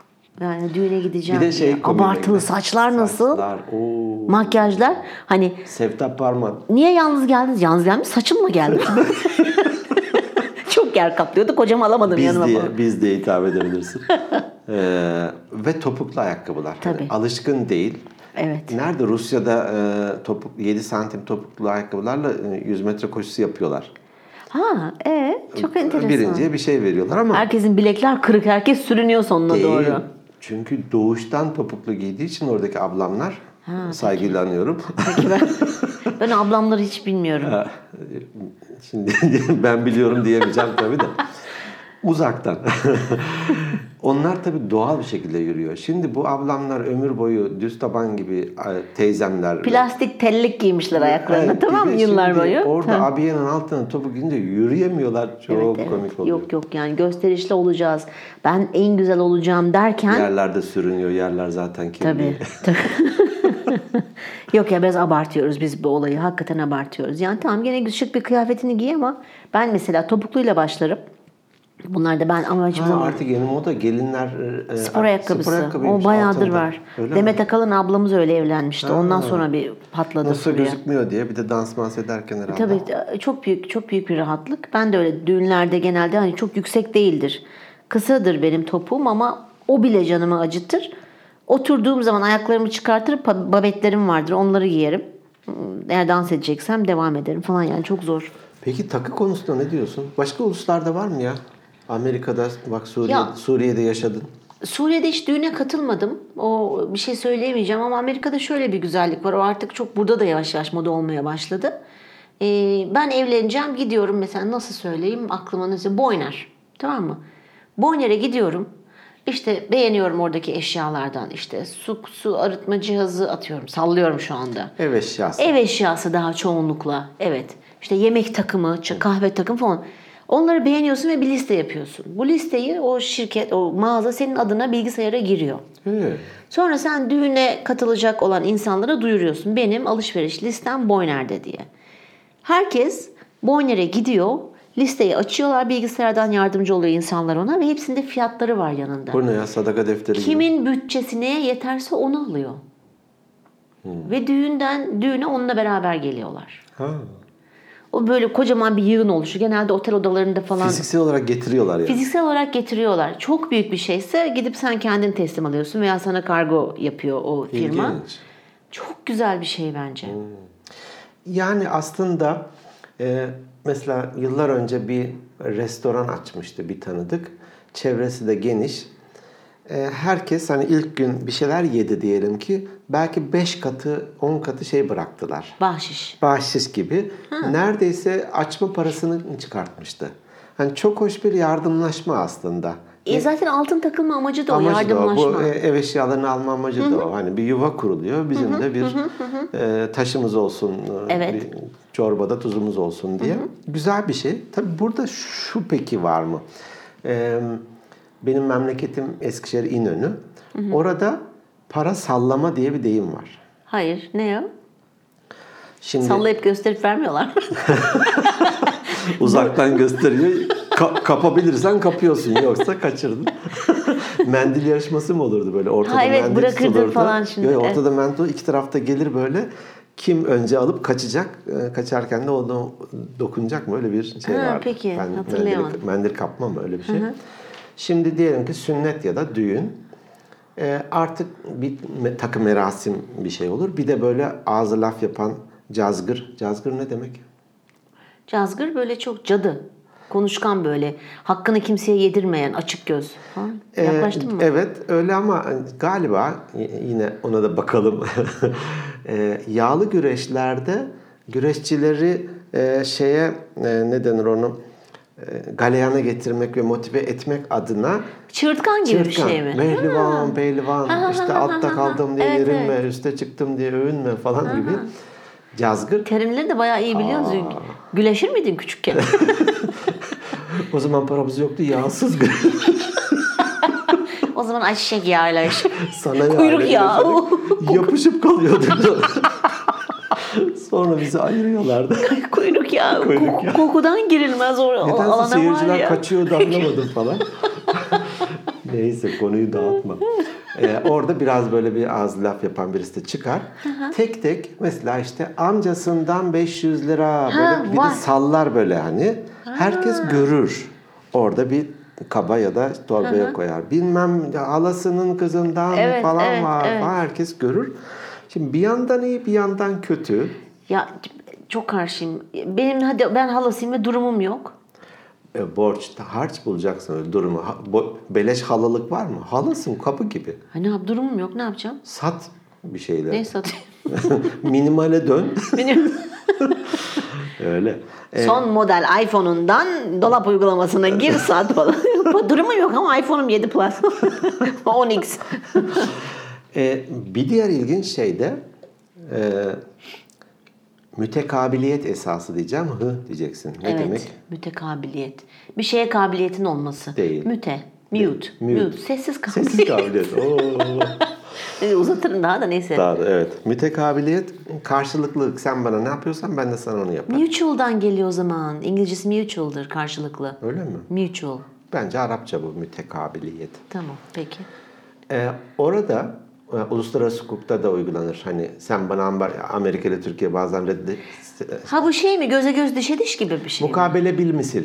[SPEAKER 2] Yani düğüne gideceğim.
[SPEAKER 1] Bir de şey
[SPEAKER 2] diye.
[SPEAKER 1] komiğime
[SPEAKER 2] Abartılı
[SPEAKER 1] gider.
[SPEAKER 2] saçlar nasıl?
[SPEAKER 1] Saçlar, oo.
[SPEAKER 2] Makyajlar hani
[SPEAKER 1] Sevtap Parman.
[SPEAKER 2] niye yalnız geldiniz? Yalnız gelmiş saçım
[SPEAKER 1] *laughs*
[SPEAKER 2] mı geldi? çok yer kaplıyordu. Kocam alamadım
[SPEAKER 1] Biz
[SPEAKER 2] yanıma.
[SPEAKER 1] diye,
[SPEAKER 2] falan.
[SPEAKER 1] biz diye hitap
[SPEAKER 2] *laughs*
[SPEAKER 1] edebilirsin. Ee, ve topuklu ayakkabılar. Yani
[SPEAKER 2] Tabii.
[SPEAKER 1] alışkın değil.
[SPEAKER 2] Evet.
[SPEAKER 1] Nerede Rusya'da e, topuk 7 santim topuklu ayakkabılarla e, 100 metre koşusu yapıyorlar.
[SPEAKER 2] Ha, e çok enteresan.
[SPEAKER 1] Birinciye bir şey veriyorlar ama
[SPEAKER 2] Herkesin bilekler kırık. Herkes sürünüyor sonuna
[SPEAKER 1] değil.
[SPEAKER 2] doğru.
[SPEAKER 1] Çünkü doğuştan topuklu giydiği için oradaki ablamlar saygıyla anıyorum.
[SPEAKER 2] *laughs* Ben ablamları hiç bilmiyorum.
[SPEAKER 1] Şimdi *laughs* ben biliyorum diyemeyeceğim tabii de. Uzaktan. *laughs* Onlar tabii doğal bir şekilde yürüyor. Şimdi bu ablamlar ömür boyu düz taban gibi e, teyzemler.
[SPEAKER 2] Plastik tellik giymişler ayaklarına
[SPEAKER 1] Evet,
[SPEAKER 2] tamam
[SPEAKER 1] bir
[SPEAKER 2] mı
[SPEAKER 1] de
[SPEAKER 2] yıllar
[SPEAKER 1] şimdi
[SPEAKER 2] boyu?
[SPEAKER 1] Orada
[SPEAKER 2] Tamam.
[SPEAKER 1] abiyenin altına topu gidince yürüyemiyorlar. Çok
[SPEAKER 2] Evet, evet.
[SPEAKER 1] komik oluyor.
[SPEAKER 2] Yok yok yani gösterişli olacağız. Ben en güzel olacağım derken
[SPEAKER 1] Yerlerde sürünüyor. Yerler zaten kirli.
[SPEAKER 2] *laughs* tabii. *laughs* tabii. yok ya biraz abartıyoruz biz bu olayı. Hakikaten abartıyoruz. Yani tamam gene şık bir kıyafetini giy ama ben mesela topukluyla başlarım. Bunlar da ben ama hiçbir
[SPEAKER 1] Ha,
[SPEAKER 2] zaman
[SPEAKER 1] artık yeni moda gelinler e,
[SPEAKER 2] spor
[SPEAKER 1] e,
[SPEAKER 2] ayakkabısı.
[SPEAKER 1] ayakkabıymış
[SPEAKER 2] o bayağıdır
[SPEAKER 1] altında.
[SPEAKER 2] var.
[SPEAKER 1] Öyle mi?
[SPEAKER 2] Demet Akalın ablamız öyle evlenmişti. Ondan sonra bir patladı.
[SPEAKER 1] Nasıl
[SPEAKER 2] furya.
[SPEAKER 1] gözükmüyor diye bir de dans mans ederken herhalde.
[SPEAKER 2] Tabii çok büyük çok büyük bir rahatlık. Ben de öyle düğünlerde genelde hani çok yüksek değildir. Kısadır benim topuğum ama o bile canımı acıtır. Oturduğum zaman ayaklarımı çıkartırıp pa- babetlerim vardır. Onları giyerim. Hmm, Eğer dans edeceksem devam ederim falan yani çok zor.
[SPEAKER 1] Peki takı konusunda ne diyorsun? Başka uluslarda var mı ya? Amerika'da bak Suriye,
[SPEAKER 2] Ya.
[SPEAKER 1] Suriye'de yaşadın.
[SPEAKER 2] Suriye'de hiç düğüne katılmadım. O bir şey söyleyemeyeceğim ama Amerika'da şöyle bir güzellik var. O artık çok burada da yavaş yavaş moda olmaya başladı. Ee, ben evleneceğim gidiyorum mesela nasıl söyleyeyim aklıma nasıl Boyner tamam mı? Boyner'e gidiyorum. İşte beğeniyorum oradaki eşyalardan işte su, su arıtma cihazı atıyorum sallıyorum şu anda.
[SPEAKER 1] Ev eşyası.
[SPEAKER 2] Ev eşyası daha çoğunlukla. Evet. İşte yemek takımı, ç- kahve takımı falan. Onları beğeniyorsun ve bir liste yapıyorsun. Bu listeyi o şirket, o mağaza senin adına bilgisayara giriyor.
[SPEAKER 1] He.
[SPEAKER 2] Sonra sen düğüne katılacak olan insanlara duyuruyorsun. Benim alışveriş listem Boyner'de diye. Herkes Boyner'e gidiyor. Listeyi açıyorlar. Bilgisayardan yardımcı oluyor insanlar ona ve hepsinde fiyatları var yanında.
[SPEAKER 1] Bu ne ya sadaka defteri gibi.
[SPEAKER 2] Kimin bütçesine yeterse onu alıyor. Ve düğünden düğüne onunla beraber geliyorlar.
[SPEAKER 1] Ha.
[SPEAKER 2] O böyle kocaman bir yığın oluşur. Genelde otel odalarında falan
[SPEAKER 1] Fiziksel olarak getiriyorlar yani.
[SPEAKER 2] fiziksel olarak getiriyorlar. Çok büyük bir şeyse gidip sen kendin teslim alıyorsun veya sana kargo yapıyor o firma.
[SPEAKER 1] İlginç.
[SPEAKER 2] Çok güzel bir şey bence.
[SPEAKER 1] Hmm. Yani aslında e, mesela yıllar önce bir restoran açmıştı bir tanıdık. Çevresi de geniş. E, herkes hani ilk gün bir şeyler yedi diyelim ki belki 5 katı 10 katı şey bıraktılar.
[SPEAKER 2] Bahşiş.
[SPEAKER 1] Bahşiş gibi. Neredeyse açma parasını çıkartmıştı. Hani çok hoş bir yardımlaşma aslında.
[SPEAKER 2] E zaten altın takılma amacı da o
[SPEAKER 1] Amacı da o.
[SPEAKER 2] yardımlaşma.
[SPEAKER 1] Bu e, ev eşyalarını alma amacı da o. Hani bir yuva kuruluyor. Bizim de bir e, taşımız olsun. e,
[SPEAKER 2] Evet.
[SPEAKER 1] Bir çorbada tuzumuz olsun diye. Güzel bir şey. Tabii burada şu peki var mı? E, benim memleketim Eskişehir İnönü. Orada para sallama diye bir deyim var.
[SPEAKER 2] Hayır ne o?
[SPEAKER 1] Şimdi
[SPEAKER 2] Sallayıp gösterip vermiyorlar.
[SPEAKER 1] *laughs* uzaktan gösteriyor. Ka- kapabilirsen kapıyorsun yoksa kaçırdın. *laughs* mendil yarışması mı olurdu böyle ortada
[SPEAKER 2] Ha, evet,
[SPEAKER 1] mendil
[SPEAKER 2] bırakırdın
[SPEAKER 1] tutulurdu.
[SPEAKER 2] falan şimdi,
[SPEAKER 1] Yok, ortada mendil tutulur. iki tarafta gelir böyle kim önce alıp kaçacak e, kaçarken de onu dokunacak mı öyle bir şey
[SPEAKER 2] Ha,
[SPEAKER 1] vardı.
[SPEAKER 2] peki, hatırlayamadım.
[SPEAKER 1] mendil, mendil kapma mı öyle bir şey. Şimdi diyelim ki sünnet ya da düğün. E, artık bir me- takım merasim bir şey olur. Bir de böyle ağzı laf yapan cazgır. Cazgır ne demek?
[SPEAKER 2] *laughs* Cazgır böyle çok cadı. Konuşkan böyle. Hakkını kimseye yedirmeyen açık göz. Ha?
[SPEAKER 1] Ee,
[SPEAKER 2] Yaklaştın mı?
[SPEAKER 1] Evet öyle ama galiba y- yine ona da bakalım. *laughs* Ee, yağlı güreşlerde güreşçileri e, şeye e, ne denir onu E, galeyana getirmek ve motive etmek adına
[SPEAKER 2] Çığırtkan gibi bir şey mi?
[SPEAKER 1] Mehlivan, pehlivan, işte altta kaldım diye
[SPEAKER 2] Evet,
[SPEAKER 1] yerinme, üste çıktım diye övünme falan gibi. Cazgır.
[SPEAKER 2] Terimleri de bayağı iyi biliyoruz. Güleşir
[SPEAKER 1] *laughs*
[SPEAKER 2] miydin küçükken?
[SPEAKER 1] O zaman paramız yoktu yağsız güreş.
[SPEAKER 2] o zaman ayçiçek
[SPEAKER 1] *laughs*
[SPEAKER 2] yağıyla iş.
[SPEAKER 1] *laughs* Sana ya,
[SPEAKER 2] Kuyruk
[SPEAKER 1] öyle
[SPEAKER 2] yağı. *laughs*
[SPEAKER 1] gözüküyor. Yapışıp kalıyordu. *laughs* Sonra bizi ayırıyorlardı.
[SPEAKER 2] Kuyruk yağı.
[SPEAKER 1] Kuyruk
[SPEAKER 2] Koku-
[SPEAKER 1] yağı.
[SPEAKER 2] Kokudan girilmez oraya. O
[SPEAKER 1] Nedense
[SPEAKER 2] alana var
[SPEAKER 1] seyirciler
[SPEAKER 2] ya.
[SPEAKER 1] kaçıyordu anlamadım falan. *laughs* Neyse konuyu dağıtma. Ee, orada biraz böyle bir ağız laf yapan birisi de çıkar. tek tek mesela işte amcasından 500 lira böyle
[SPEAKER 2] Ha,
[SPEAKER 1] bir
[SPEAKER 2] var.
[SPEAKER 1] de sallar böyle hani. Herkes görür. Orada bir kaba ya da torbaya koyar. Bilmem ya halasının kızından
[SPEAKER 2] Evet,
[SPEAKER 1] falan
[SPEAKER 2] evet,
[SPEAKER 1] var
[SPEAKER 2] evet.
[SPEAKER 1] falan herkes görür. Şimdi bir yandan iyi bir yandan kötü.
[SPEAKER 2] Ya çok karşıyım. Benim hadi ben halasıyım ve durumum yok.
[SPEAKER 1] E, borç, harç bulacaksın öyle durumu. Ha- bo- beleş halalık var mı? Halasın kapı gibi.
[SPEAKER 2] Ha, ne yap durumum yok ne yapacağım?
[SPEAKER 1] Sat bir şeyler.
[SPEAKER 2] Ne satayım?
[SPEAKER 1] *laughs* Minimale dön.
[SPEAKER 2] Benim
[SPEAKER 1] *laughs* öyle.
[SPEAKER 2] son model iPhone'undan dolap uygulamasına gir
[SPEAKER 1] *laughs*
[SPEAKER 2] sat falan. durumum yok ama iPhone'um 7 Plus. 10X.
[SPEAKER 1] E, bir diğer ilginç şey de e, mütekabiliyet esası diyeceğim. Hı diyeceksin. Ne
[SPEAKER 2] evet.
[SPEAKER 1] demek?
[SPEAKER 2] Mütekabiliyet. Bir şeye kabiliyetin olması.
[SPEAKER 1] Değil.
[SPEAKER 2] Müte. Mute. Mute.
[SPEAKER 1] Mute.
[SPEAKER 2] Sessiz kabiliyet.
[SPEAKER 1] Sessiz kabiliyet. Oo.
[SPEAKER 2] *laughs* Uzatırım daha da neyse.
[SPEAKER 1] Daha da, evet. Mütekabiliyet karşılıklılık. Sen bana ne yapıyorsan ben de sana onu yaparım.
[SPEAKER 2] Mutual'dan geliyor o zaman. İngilizcesi mutual'dır karşılıklı.
[SPEAKER 1] Öyle mi?
[SPEAKER 2] Mutual.
[SPEAKER 1] Bence Arapça bu mütekabiliyet.
[SPEAKER 2] Tamam peki.
[SPEAKER 1] Ee, orada e, uluslararası hukukta da uygulanır. Hani sen bana ambar- Amerika ile Türkiye bazen reddi
[SPEAKER 2] Ha bu şey mi? Göze göz dişe diş gibi bir şey mi?
[SPEAKER 1] mukabele bil misil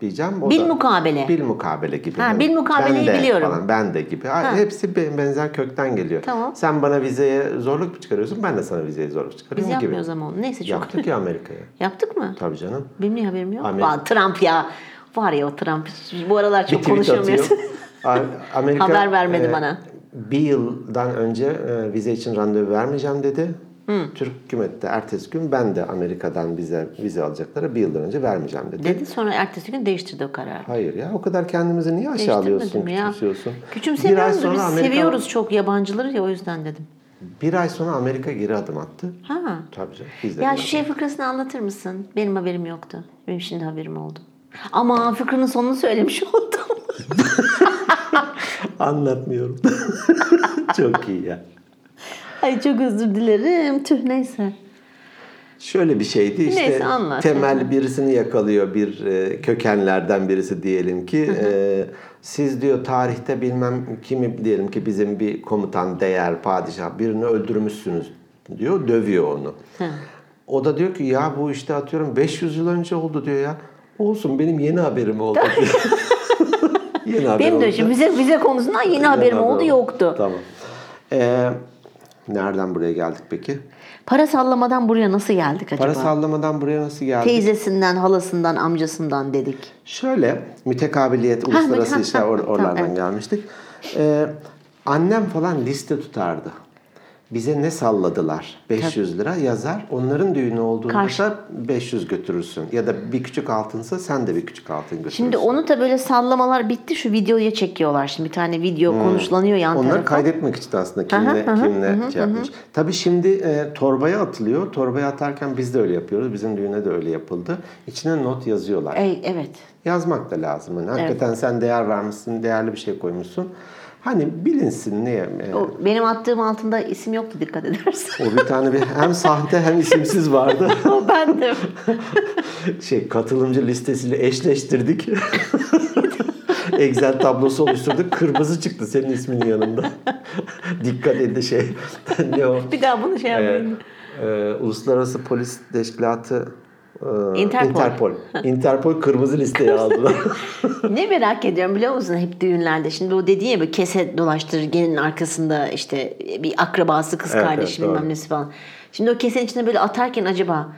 [SPEAKER 1] diyeceğim. O
[SPEAKER 2] Bil
[SPEAKER 1] da-
[SPEAKER 2] mukabele.
[SPEAKER 1] Bil mukabele gibi.
[SPEAKER 2] Ha,
[SPEAKER 1] Hani
[SPEAKER 2] bil mukabeleyi
[SPEAKER 1] ben de
[SPEAKER 2] biliyorum.
[SPEAKER 1] Falan, ben de gibi. Ha,
[SPEAKER 2] Ha.
[SPEAKER 1] Hepsi be- benzer kökten geliyor.
[SPEAKER 2] Tamam.
[SPEAKER 1] Sen bana vizeye zorluk mu çıkarıyorsun? Ben de sana vizeye zorluk
[SPEAKER 2] Biz
[SPEAKER 1] çıkarıyorum gibi.
[SPEAKER 2] yapmıyoruz ama onu. Neyse çok.
[SPEAKER 1] Yaptık ya Amerika'ya.
[SPEAKER 2] Yaptık mı?
[SPEAKER 1] Tabii canım.
[SPEAKER 2] Benim niye haberim yok?
[SPEAKER 1] Amerika-
[SPEAKER 2] Vay, Trump ya. Var ya o Trump. Bu aralar
[SPEAKER 1] Bir
[SPEAKER 2] çok
[SPEAKER 1] tweet
[SPEAKER 2] konuşamıyoruz.
[SPEAKER 1] atıyor. Ee, A- Amerika,
[SPEAKER 2] *laughs*
[SPEAKER 1] e,
[SPEAKER 2] Haber vermedi bana.
[SPEAKER 1] Bir yıldan önce e, vize için randevu vermeyeceğim dedi. Türk hükümeti de ertesi gün ben de Amerika'dan vize vize alacaklara bir yıldan önce vermeyeceğim dedi.
[SPEAKER 2] Dedi sonra ertesi gün değiştirdi o kararı.
[SPEAKER 1] Hayır ya o kadar kendimizi niye aşağılıyorsun,
[SPEAKER 2] Değiştirmedim ya.
[SPEAKER 1] küçümsüyorsun?
[SPEAKER 2] Küçümsemiyoruz da biz
[SPEAKER 1] Amerika,
[SPEAKER 2] seviyoruz çok yabancıları ya o yüzden dedim.
[SPEAKER 1] Bir ay sonra Amerika geri adım attı.
[SPEAKER 2] Ha.
[SPEAKER 1] Tabii canım. Biz de
[SPEAKER 2] Ya
[SPEAKER 1] geri
[SPEAKER 2] şu şey fıkrasını anlatır mısın? Benim haberim yoktu. Benim şimdi haberim oldu. Ama fıkranın sonunu söylemiş *laughs* oldum.
[SPEAKER 1] adım- Anlatmıyorum. *laughs* Çok iyi ya.
[SPEAKER 2] Ay çok özür dilerim. Tüh neyse.
[SPEAKER 1] Şöyle bir şeydi işte
[SPEAKER 2] Neyse, anlat.
[SPEAKER 1] temel birisini yakalıyor bir e, kökenlerden birisi diyelim ki e, siz diyor tarihte bilmem kimi diyelim ki bizim bir komutan değer padişah birini öldürmüşsünüz diyor dövüyor onu. O da diyor ki ya bu işte atıyorum 500 yıl önce oldu diyor ya. Olsun benim yeni haberim
[SPEAKER 2] *laughs*
[SPEAKER 1] oldu diyor. yeni haber
[SPEAKER 2] Benim
[SPEAKER 1] oldu.
[SPEAKER 2] de şimdi vize, vize konusundan yeni haberim
[SPEAKER 1] haber
[SPEAKER 2] oldu yoktu.
[SPEAKER 1] Tamam. Ee, nereden buraya geldik peki?
[SPEAKER 2] Para sallamadan buraya nasıl geldik acaba?
[SPEAKER 1] Para sallamadan buraya nasıl geldik?
[SPEAKER 2] Teyzesinden, halasından, amcasından dedik.
[SPEAKER 1] Şöyle mütekabiliyet
[SPEAKER 2] ha,
[SPEAKER 1] uluslararası işler
[SPEAKER 2] ha,
[SPEAKER 1] or-
[SPEAKER 2] tamam,
[SPEAKER 1] oralardan
[SPEAKER 2] evet.
[SPEAKER 1] gelmiştik. Ee, annem falan liste tutardı. Bize ne salladılar? 500 lira yazar. Onların düğünü olduğunda
[SPEAKER 2] Karşı-
[SPEAKER 1] da 500 götürürsün. Ya da bir küçük altınsa sen de bir küçük altın götürürsün.
[SPEAKER 2] Şimdi onu da böyle sallamalar bitti şu videoya çekiyorlar şimdi bir tane video
[SPEAKER 1] Hmm.
[SPEAKER 2] konuşlanıyor yan
[SPEAKER 1] Onları
[SPEAKER 2] tarafa.
[SPEAKER 1] kaydetmek için aslında
[SPEAKER 2] Aha,
[SPEAKER 1] kimle
[SPEAKER 2] aha,
[SPEAKER 1] kimle şey yapmış. Tabii şimdi e, torbaya atılıyor. Torbaya atarken biz de öyle yapıyoruz. Bizim düğüne de öyle yapıldı. İçine not yazıyorlar.
[SPEAKER 2] Ey, evet.
[SPEAKER 1] Yazmak da lazım. Yani hakikaten sen değer vermişsin, değerli bir şey koymuşsun. Hani bilinsin niye? e,
[SPEAKER 2] O, benim attığım altında isim yoktu dikkat edersen. *laughs*
[SPEAKER 1] O bir tane bir hem sahte hem isimsiz vardı.
[SPEAKER 2] O bendim.
[SPEAKER 1] *laughs* şey katılımcı listesiyle eşleştirdik. *laughs* Excel tablosu oluşturduk. Kırmızı çıktı senin isminin yanında. *laughs* Dikkat edin şey. *laughs* ne o?
[SPEAKER 2] Bir daha bunu şey
[SPEAKER 1] Ee,
[SPEAKER 2] yapmayın.
[SPEAKER 1] e, Uluslararası Polis Teşkilatı e,
[SPEAKER 2] Interpol.
[SPEAKER 1] Interpol. Interpol kırmızı listeye aldılar.
[SPEAKER 2] ne merak ediyorum biliyor musun hep düğünlerde. Şimdi o dediğin ya böyle kese dolaştırır gelinin arkasında işte bir akrabası kız
[SPEAKER 1] Evet,
[SPEAKER 2] kardeşi
[SPEAKER 1] evet,
[SPEAKER 2] bilmem
[SPEAKER 1] doğru.
[SPEAKER 2] nesi falan. Şimdi o kesenin içine böyle atarken acaba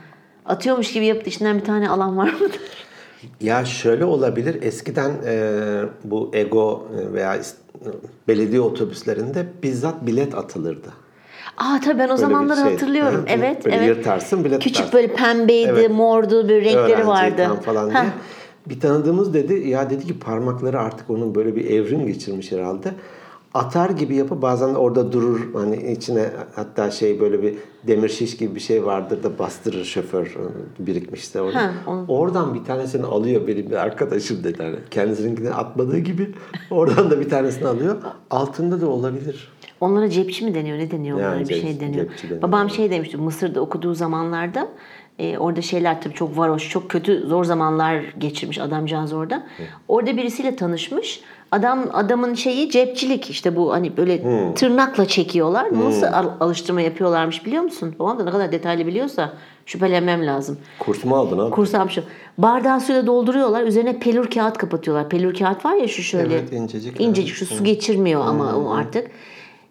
[SPEAKER 2] atıyormuş gibi yaptı içinden bir tane alan var mı? *laughs*
[SPEAKER 1] Ya şöyle olabilir. Eskiden e, bu ego e, veya is- belediye otobüslerinde bizzat bilet atılırdı.
[SPEAKER 2] Aa tabii ben o zamanları
[SPEAKER 1] şeydi.
[SPEAKER 2] hatırlıyorum.
[SPEAKER 1] şey. Hı hı.
[SPEAKER 2] evet,
[SPEAKER 1] Böyle
[SPEAKER 2] evet.
[SPEAKER 1] yırtarsın, bilet
[SPEAKER 2] Küçük
[SPEAKER 1] tutarsın.
[SPEAKER 2] böyle pembeydi,
[SPEAKER 1] Evet.
[SPEAKER 2] mordu, böyle renkleri
[SPEAKER 1] Öğrenciyken
[SPEAKER 2] vardı.
[SPEAKER 1] falan diye.
[SPEAKER 2] Heh.
[SPEAKER 1] Bir tanıdığımız dedi ya dedi ki parmakları artık onun böyle bir evrim geçirmiş herhalde. Atar gibi yapı bazen de orada durur hani içine hatta şey böyle bir demir şiş gibi bir şey vardır da bastırır şoför birikmişse orada.
[SPEAKER 2] Ha, onu-
[SPEAKER 1] Oradan bir tanesini alıyor benim bir arkadaşım dedi hani kendisininkini atmadığı gibi oradan da bir tanesini alıyor. Altında da olabilir.
[SPEAKER 2] Onlara cepçi mi deniyor ne deniyor
[SPEAKER 1] Yani
[SPEAKER 2] onlara bir
[SPEAKER 1] cep-
[SPEAKER 2] şey deniyor.
[SPEAKER 1] cepçi deniyor,
[SPEAKER 2] Babam
[SPEAKER 1] evet.
[SPEAKER 2] şey demişti Mısır'da okuduğu zamanlarda e, orada şeyler tabii çok varoş çok kötü zor zamanlar geçirmiş adamcağız orada. Orada birisiyle tanışmış. Adam adamın şeyi cepçilik işte bu hani böyle
[SPEAKER 1] Hmm.
[SPEAKER 2] tırnakla çekiyorlar. Nasıl al- alıştırma yapıyorlarmış biliyor musun? Babam da ne kadar detaylı biliyorsa şüphelenmem lazım.
[SPEAKER 1] Kurtumu aldın abi.
[SPEAKER 2] Kursam şu. Bardağı suyla dolduruyorlar. Üzerine pelür kağıt kapatıyorlar. Pelür kağıt var ya şu şöyle.
[SPEAKER 1] Evet, incecik. Hmm.
[SPEAKER 2] İncecik şu su geçirmiyor ama o artık.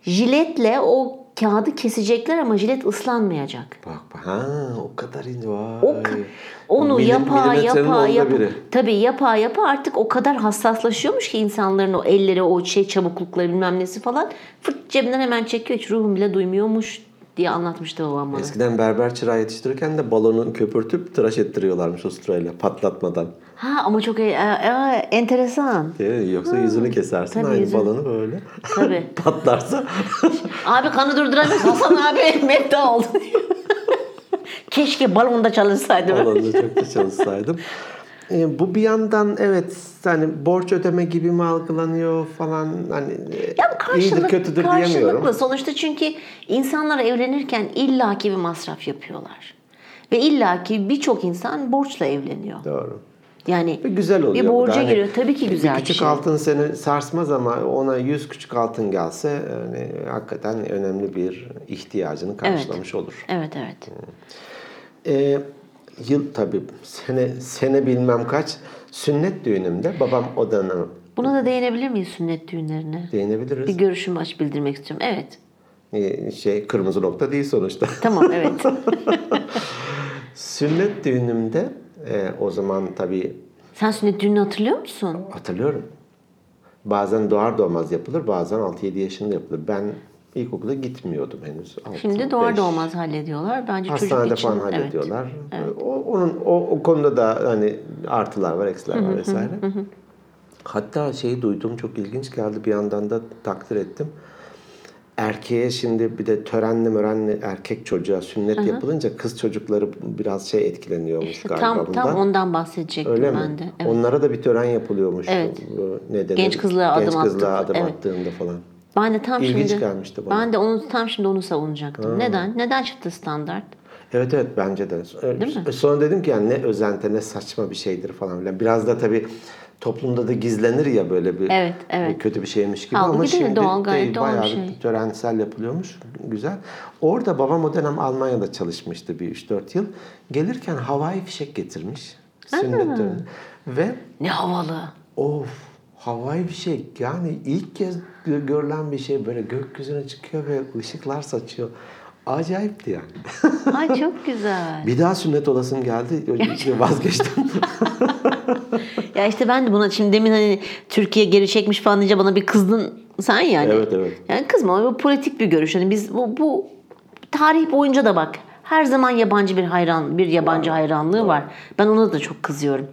[SPEAKER 2] Jiletle o kağıdı kesecekler ama jilet ıslanmayacak.
[SPEAKER 1] Bak bak ha o kadar ince vay.
[SPEAKER 2] O ka- onu
[SPEAKER 1] Milim-
[SPEAKER 2] yapa
[SPEAKER 1] milimetrenin
[SPEAKER 2] yapa
[SPEAKER 1] onda
[SPEAKER 2] yapa.
[SPEAKER 1] biri.
[SPEAKER 2] Tabii yapa yapa artık o kadar hassaslaşıyormuş ki insanların o elleri o şey çabuklukları bilmem nesi falan. Fırt cebinden hemen çekiyor. Hiç ruhum bile duymuyormuş diye anlatmıştı babam bana.
[SPEAKER 1] Eskiden berber çırağı yetiştirirken de balonu köpürtüp tıraş ettiriyorlarmış o sırayla patlatmadan.
[SPEAKER 2] Ha ama çok e- e- e- enteresan.
[SPEAKER 1] *laughs* Ee, yoksa yüzünü kesersin
[SPEAKER 2] tabii
[SPEAKER 1] aynı
[SPEAKER 2] yüzünü.
[SPEAKER 1] balonu böyle *laughs*
[SPEAKER 2] Tabii. *laughs*
[SPEAKER 1] patlarsa.
[SPEAKER 2] Abi kanı
[SPEAKER 1] *laughs*
[SPEAKER 2] durduramıyoruz. Hasan abi mevta oldu. Keşke balonda çalışsaydım.
[SPEAKER 1] Balonla çok da çalışsaydım. Ee, bu bir yandan evet hani borç ödeme gibi mi algılanıyor falan hani e,
[SPEAKER 2] Ya bu
[SPEAKER 1] iyidir
[SPEAKER 2] karşılık,
[SPEAKER 1] kötüdür diyemiyorum.
[SPEAKER 2] karşılıklı sonuçta çünkü insanlar evlenirken illaki bir masraf yapıyorlar. Ve illaki birçok insan borçla evleniyor.
[SPEAKER 1] Doğru.
[SPEAKER 2] Yani
[SPEAKER 1] Ve güzel oluyor.
[SPEAKER 2] bir
[SPEAKER 1] bu da.
[SPEAKER 2] borca
[SPEAKER 1] Hani
[SPEAKER 2] giriyor. Tabii ki güzel
[SPEAKER 1] bir
[SPEAKER 2] bir,
[SPEAKER 1] küçük
[SPEAKER 2] şey.
[SPEAKER 1] altın seni sarsmaz ama ona 100 küçük altın gelse yani hakikaten önemli bir ihtiyacını karşılamış olur.
[SPEAKER 2] Evet evet.
[SPEAKER 1] Ee, yıl tabii sene sene bilmem kaç sünnet düğünümde babam o dönem
[SPEAKER 2] Buna da değinebilir miyiz sünnet düğünlerine?
[SPEAKER 1] değinebiliriz.
[SPEAKER 2] Bir görüşümü aç bildirmek istiyorum. Evet.
[SPEAKER 1] Ee, şey kırmızı nokta değil
[SPEAKER 2] *laughs*
[SPEAKER 1] sonuçta. *laughs*
[SPEAKER 2] Tamam evet.
[SPEAKER 1] sünnet düğünümde e, o zaman tabii
[SPEAKER 2] Sen sünnet düğününü hatırlıyor musun?
[SPEAKER 1] hatırlıyorum. Bazen doğar doğmaz yapılır, bazen 6-7 yaşında yapılır. Ben ilkokula gitmiyordum henüz. Altı,
[SPEAKER 2] Şimdi doğar
[SPEAKER 1] beş.
[SPEAKER 2] doğmaz hallediyorlar. Bence
[SPEAKER 1] Hastanede
[SPEAKER 2] çocuk için.
[SPEAKER 1] falan
[SPEAKER 2] evet.
[SPEAKER 1] hallediyorlar. O, onun o, o konuda da hani artılar var, eksiler var vesaire. Hatta şeyi duydum çok ilginç geldi bir yandan da takdir ettim. Erkeğe şimdi bir de törenli mörenli erkek çocuğa sünnet yapılınca kız çocukları biraz şey etkileniyormuş
[SPEAKER 2] İşte
[SPEAKER 1] galiba
[SPEAKER 2] tam,
[SPEAKER 1] bundan.
[SPEAKER 2] tam ondan bahsedecektim
[SPEAKER 1] Öyle mi?
[SPEAKER 2] ben de. Evet.
[SPEAKER 1] Onlara da bir tören yapılıyormuş.
[SPEAKER 2] Evet.
[SPEAKER 1] Bu ne denir?
[SPEAKER 2] Genç kızlığa
[SPEAKER 1] Genç
[SPEAKER 2] adım
[SPEAKER 1] kızlığa
[SPEAKER 2] attı-
[SPEAKER 1] adım
[SPEAKER 2] evet.
[SPEAKER 1] attığında falan.
[SPEAKER 2] Ben de tam
[SPEAKER 1] İlginç
[SPEAKER 2] şimdi
[SPEAKER 1] gelmişti bana.
[SPEAKER 2] Ben de onu tam şimdi onu savunacaktım. Neden? Neden çıktı standart?
[SPEAKER 1] Evet evet e, bence de. Ee, Sonra dedim ki yani ne özente ne saçma bir şeydir falan filan. Biraz da tabii toplumda da gizlenir ya böyle bir
[SPEAKER 2] Evet, evet.
[SPEAKER 1] bir kötü bir şeymiş gibi
[SPEAKER 2] Halbuki
[SPEAKER 1] ama
[SPEAKER 2] değil,
[SPEAKER 1] şimdi
[SPEAKER 2] doğal, gayet
[SPEAKER 1] değil,
[SPEAKER 2] doğal bir
[SPEAKER 1] bayağı
[SPEAKER 2] şey.
[SPEAKER 1] bir törensel yapılıyormuş. Güzel. Orada babam o dönem Almanya'da çalışmıştı bir 3-4 yıl. Gelirken havai fişek getirmiş. Sünnet töreni. Ve
[SPEAKER 2] Ne havalı.
[SPEAKER 1] Of havai bir şey yani ilk kez gö- görülen bir şey böyle gökyüzüne çıkıyor ve ışıklar saçıyor. Acayipti yani.
[SPEAKER 2] Ay çok güzel.
[SPEAKER 1] bir daha sünnet olasım
[SPEAKER 2] *laughs*
[SPEAKER 1] geldi Öyle vazgeçtim.
[SPEAKER 2] ya işte ben de buna şimdi demin hani Türkiye geri çekmiş falan deyince bana bir kızdın sen yani.
[SPEAKER 1] Evet, evet.
[SPEAKER 2] Yani kızma bu politik bir görüş. Hani biz bu, bu tarih boyunca da bak her zaman yabancı bir hayran bir yabancı hayranlığı var. Ben ona da çok kızıyorum.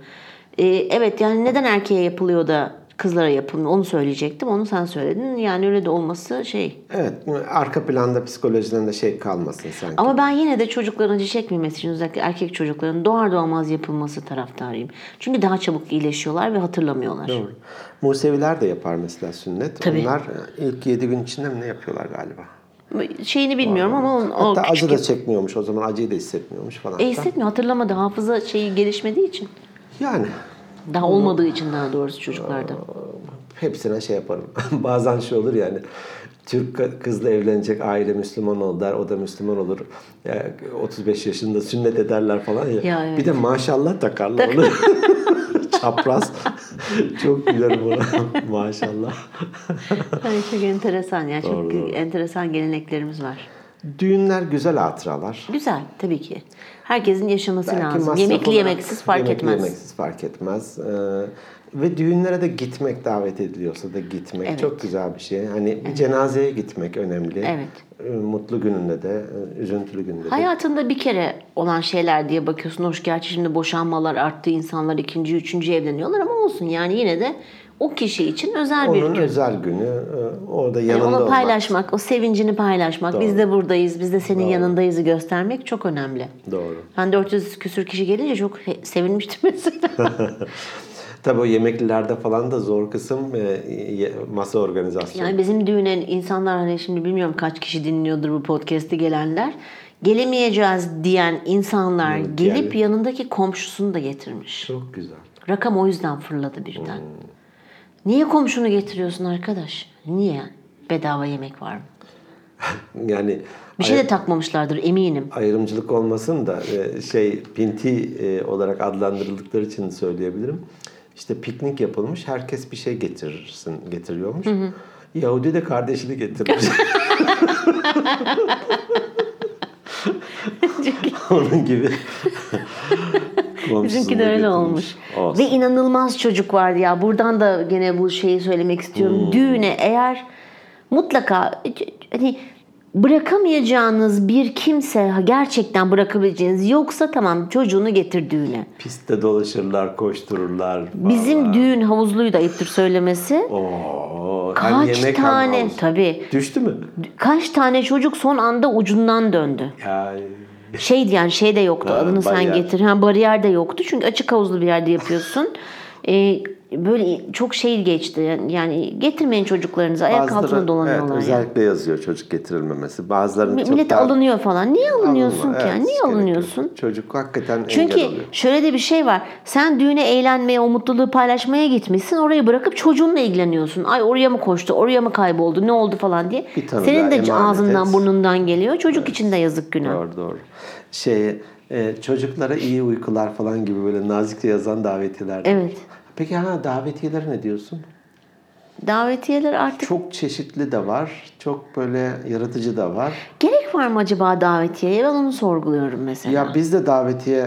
[SPEAKER 2] Ee, evet yani neden erkeğe yapılıyor da kızlara yapılmıyor onu söyleyecektim. Onu sen söyledin. Yani öyle de olması şey.
[SPEAKER 1] evet arka planda psikolojiden de şey kalmasın sanki.
[SPEAKER 2] Ama ben yine de çocukların acı çekmemesi için özellikle erkek çocukların doğar doğmaz yapılması taraftarıyım. Çünkü daha çabuk iyileşiyorlar ve hatırlamıyorlar.
[SPEAKER 1] Doğru. Museviler de yapar mesela sünnet.
[SPEAKER 2] Tabii.
[SPEAKER 1] Onlar e, ilk 7 gün içinde mi ne yapıyorlar galiba?
[SPEAKER 2] Şeyini bilmiyorum ama onun, o
[SPEAKER 1] Hatta acı
[SPEAKER 2] küçük...
[SPEAKER 1] da çekmiyormuş o zaman acıyı da hissetmiyormuş falan.
[SPEAKER 2] E hissetmiyor hatırlamadı hafıza şeyi gelişmediği için.
[SPEAKER 1] Yani
[SPEAKER 2] Daha olmadığı için daha doğrusu çocuklarda. *laughs*
[SPEAKER 1] hepsine şey yaparım. *laughs* Bazen şey olur yani. Türk ka- kızla evlenecek aile Müslüman olur der. O da Müslüman olur. Ya, 35 yaşında sünnet ederler falan ya.
[SPEAKER 2] Ya evet.
[SPEAKER 1] Bir de maşallah takarlar
[SPEAKER 2] *laughs*
[SPEAKER 1] onu. *laughs* Çapraz. Çok gülerim ona. *laughs* maşallah.
[SPEAKER 2] Ay, çok enteresan ya. Çok enteresan geleneklerimiz var.
[SPEAKER 1] Düğünler güzel hatıralar.
[SPEAKER 2] Güzel tabii ki. Herkesin yaşaması
[SPEAKER 1] Belki
[SPEAKER 2] lazım.
[SPEAKER 1] masraf
[SPEAKER 2] Yemekli
[SPEAKER 1] olarak-
[SPEAKER 2] yemeksiz fark
[SPEAKER 1] yemekli
[SPEAKER 2] etmez.
[SPEAKER 1] yemeksiz fark etmez. Ee, ve düğünlere de gitmek davet ediliyorsa da gitmek
[SPEAKER 2] Evet.
[SPEAKER 1] çok güzel bir şey. Hani bir cenazeye gitmek önemli.
[SPEAKER 2] Evet.
[SPEAKER 1] Ee, Mutlu gününde de, e, üzüntülü gününde de.
[SPEAKER 2] Hayatında bir kere olan şeyler diye bakıyorsun. Hoş gerçi şimdi boşanmalar arttı. insanlar ikinci, üçüncü evleniyorlar ama olsun yani yine de o kişi için özel bir
[SPEAKER 1] Onun
[SPEAKER 2] gün.
[SPEAKER 1] özel günü e, orada
[SPEAKER 2] Yani
[SPEAKER 1] yanında
[SPEAKER 2] onu
[SPEAKER 1] olmak.
[SPEAKER 2] paylaşmak, o sevincini paylaşmak, biz de buradayız, biz de senin yanındayızı göstermek çok önemli.
[SPEAKER 1] Doğru.
[SPEAKER 2] Ben 400 küsür kişi gelince çok he- sevinmiştim *laughs* mesela.
[SPEAKER 1] Tabii o yemeklilerde falan da zor kısım e, ye- masa organizasyonu.
[SPEAKER 2] yani bizim düğüne insanlar hani şimdi bilmiyorum kaç kişi dinliyordur bu podcast'i gelenler. Gelemeyeceğiz diyen insanlar gelip yanındaki komşusunu da getirmiş.
[SPEAKER 1] Çok güzel.
[SPEAKER 2] Rakam o yüzden fırladı birden. Niye komşunu getiriyorsun arkadaş? Niye? Bedava yemek var mı?
[SPEAKER 1] Yani
[SPEAKER 2] Bir şey de takmamışlardır eminim.
[SPEAKER 1] ayrımcılık olmasın da e, şey pinti e, olarak adlandırıldıkları için söyleyebilirim. İşte piknik yapılmış. Herkes bir şey getirirsin getiriyormuş. Yahudi de kardeşini
[SPEAKER 2] *laughs*
[SPEAKER 1] getirmiş. *laughs* Onun gibi.
[SPEAKER 2] Bizimki
[SPEAKER 1] Komşusunu
[SPEAKER 2] de
[SPEAKER 1] da
[SPEAKER 2] öyle
[SPEAKER 1] getirmiş. Oh,
[SPEAKER 2] olmuş.
[SPEAKER 1] Olsun.
[SPEAKER 2] Ve inanılmaz çocuk vardı ya. Buradan da gene bu şeyi söylemek istiyorum.
[SPEAKER 1] Hmm.
[SPEAKER 2] Düğüne eğer mutlaka hani bırakamayacağınız bir kimse gerçekten bırakabileceğiniz yoksa tamam çocuğunu getir düğüne.
[SPEAKER 1] Pistte dolaşırlar, koştururlar. falan.
[SPEAKER 2] Bizim düğün havuzluyu da ayıptır söylemesi.
[SPEAKER 1] Oo, Oh, hem
[SPEAKER 2] Kaç
[SPEAKER 1] Hani yemek hem
[SPEAKER 2] tane
[SPEAKER 1] havuz.
[SPEAKER 2] tabii.
[SPEAKER 1] Düştü mü?
[SPEAKER 2] Kaç tane çocuk son anda ucundan döndü.
[SPEAKER 1] Ya,
[SPEAKER 2] Şey yani şey de yoktu.
[SPEAKER 1] Ha,
[SPEAKER 2] adını sen
[SPEAKER 1] bariyer.
[SPEAKER 2] getir. Ha, bariyer de yoktu. Çünkü açık havuzlu bir
[SPEAKER 1] *laughs*
[SPEAKER 2] yerde yapıyorsun. Ee, böyle çok şey geçti. Yani getirmeyin çocuklarınızı. Ayak
[SPEAKER 1] bazıları-
[SPEAKER 2] altına dolanıyorlar.
[SPEAKER 1] evet,
[SPEAKER 2] yani.
[SPEAKER 1] özellikle yazıyor çocuk getirilmemesi. Bazılarının çok
[SPEAKER 2] Millet
[SPEAKER 1] daha-
[SPEAKER 2] alınıyor falan. Niye alınıyorsun
[SPEAKER 1] Alınma,
[SPEAKER 2] ki?
[SPEAKER 1] evet,
[SPEAKER 2] Niye
[SPEAKER 1] hiç gerek
[SPEAKER 2] alınıyorsun?
[SPEAKER 1] yok. Çocuk hakikaten
[SPEAKER 2] Çünkü
[SPEAKER 1] engel oluyor.
[SPEAKER 2] şöyle de bir şey var. Sen düğüne eğlenmeye, o mutluluğu paylaşmaya gitmişsin. Orayı bırakıp çocuğunla ilgileniyorsun. Ay oraya mı koştu, oraya mı kayboldu, ne oldu falan diye.
[SPEAKER 1] Bir tane
[SPEAKER 2] Senin
[SPEAKER 1] daha
[SPEAKER 2] de
[SPEAKER 1] emanet
[SPEAKER 2] ağzından
[SPEAKER 1] et.
[SPEAKER 2] burnundan geliyor. Çocuk için de yazık günah.
[SPEAKER 1] Doğru doğru. Şey, e, çocuklara iyi uykular falan gibi böyle nazikçe yazan davetiyeler. de var.
[SPEAKER 2] Evet.
[SPEAKER 1] Peki ha davetiyelere ne diyorsun?
[SPEAKER 2] Davetiyeler artık
[SPEAKER 1] Çok çeşitli de var. Çok böyle yaratıcı da var.
[SPEAKER 2] Gerek var mı acaba davetiyeye? Ben onu sorguluyorum mesela.
[SPEAKER 1] Ya biz de davetiye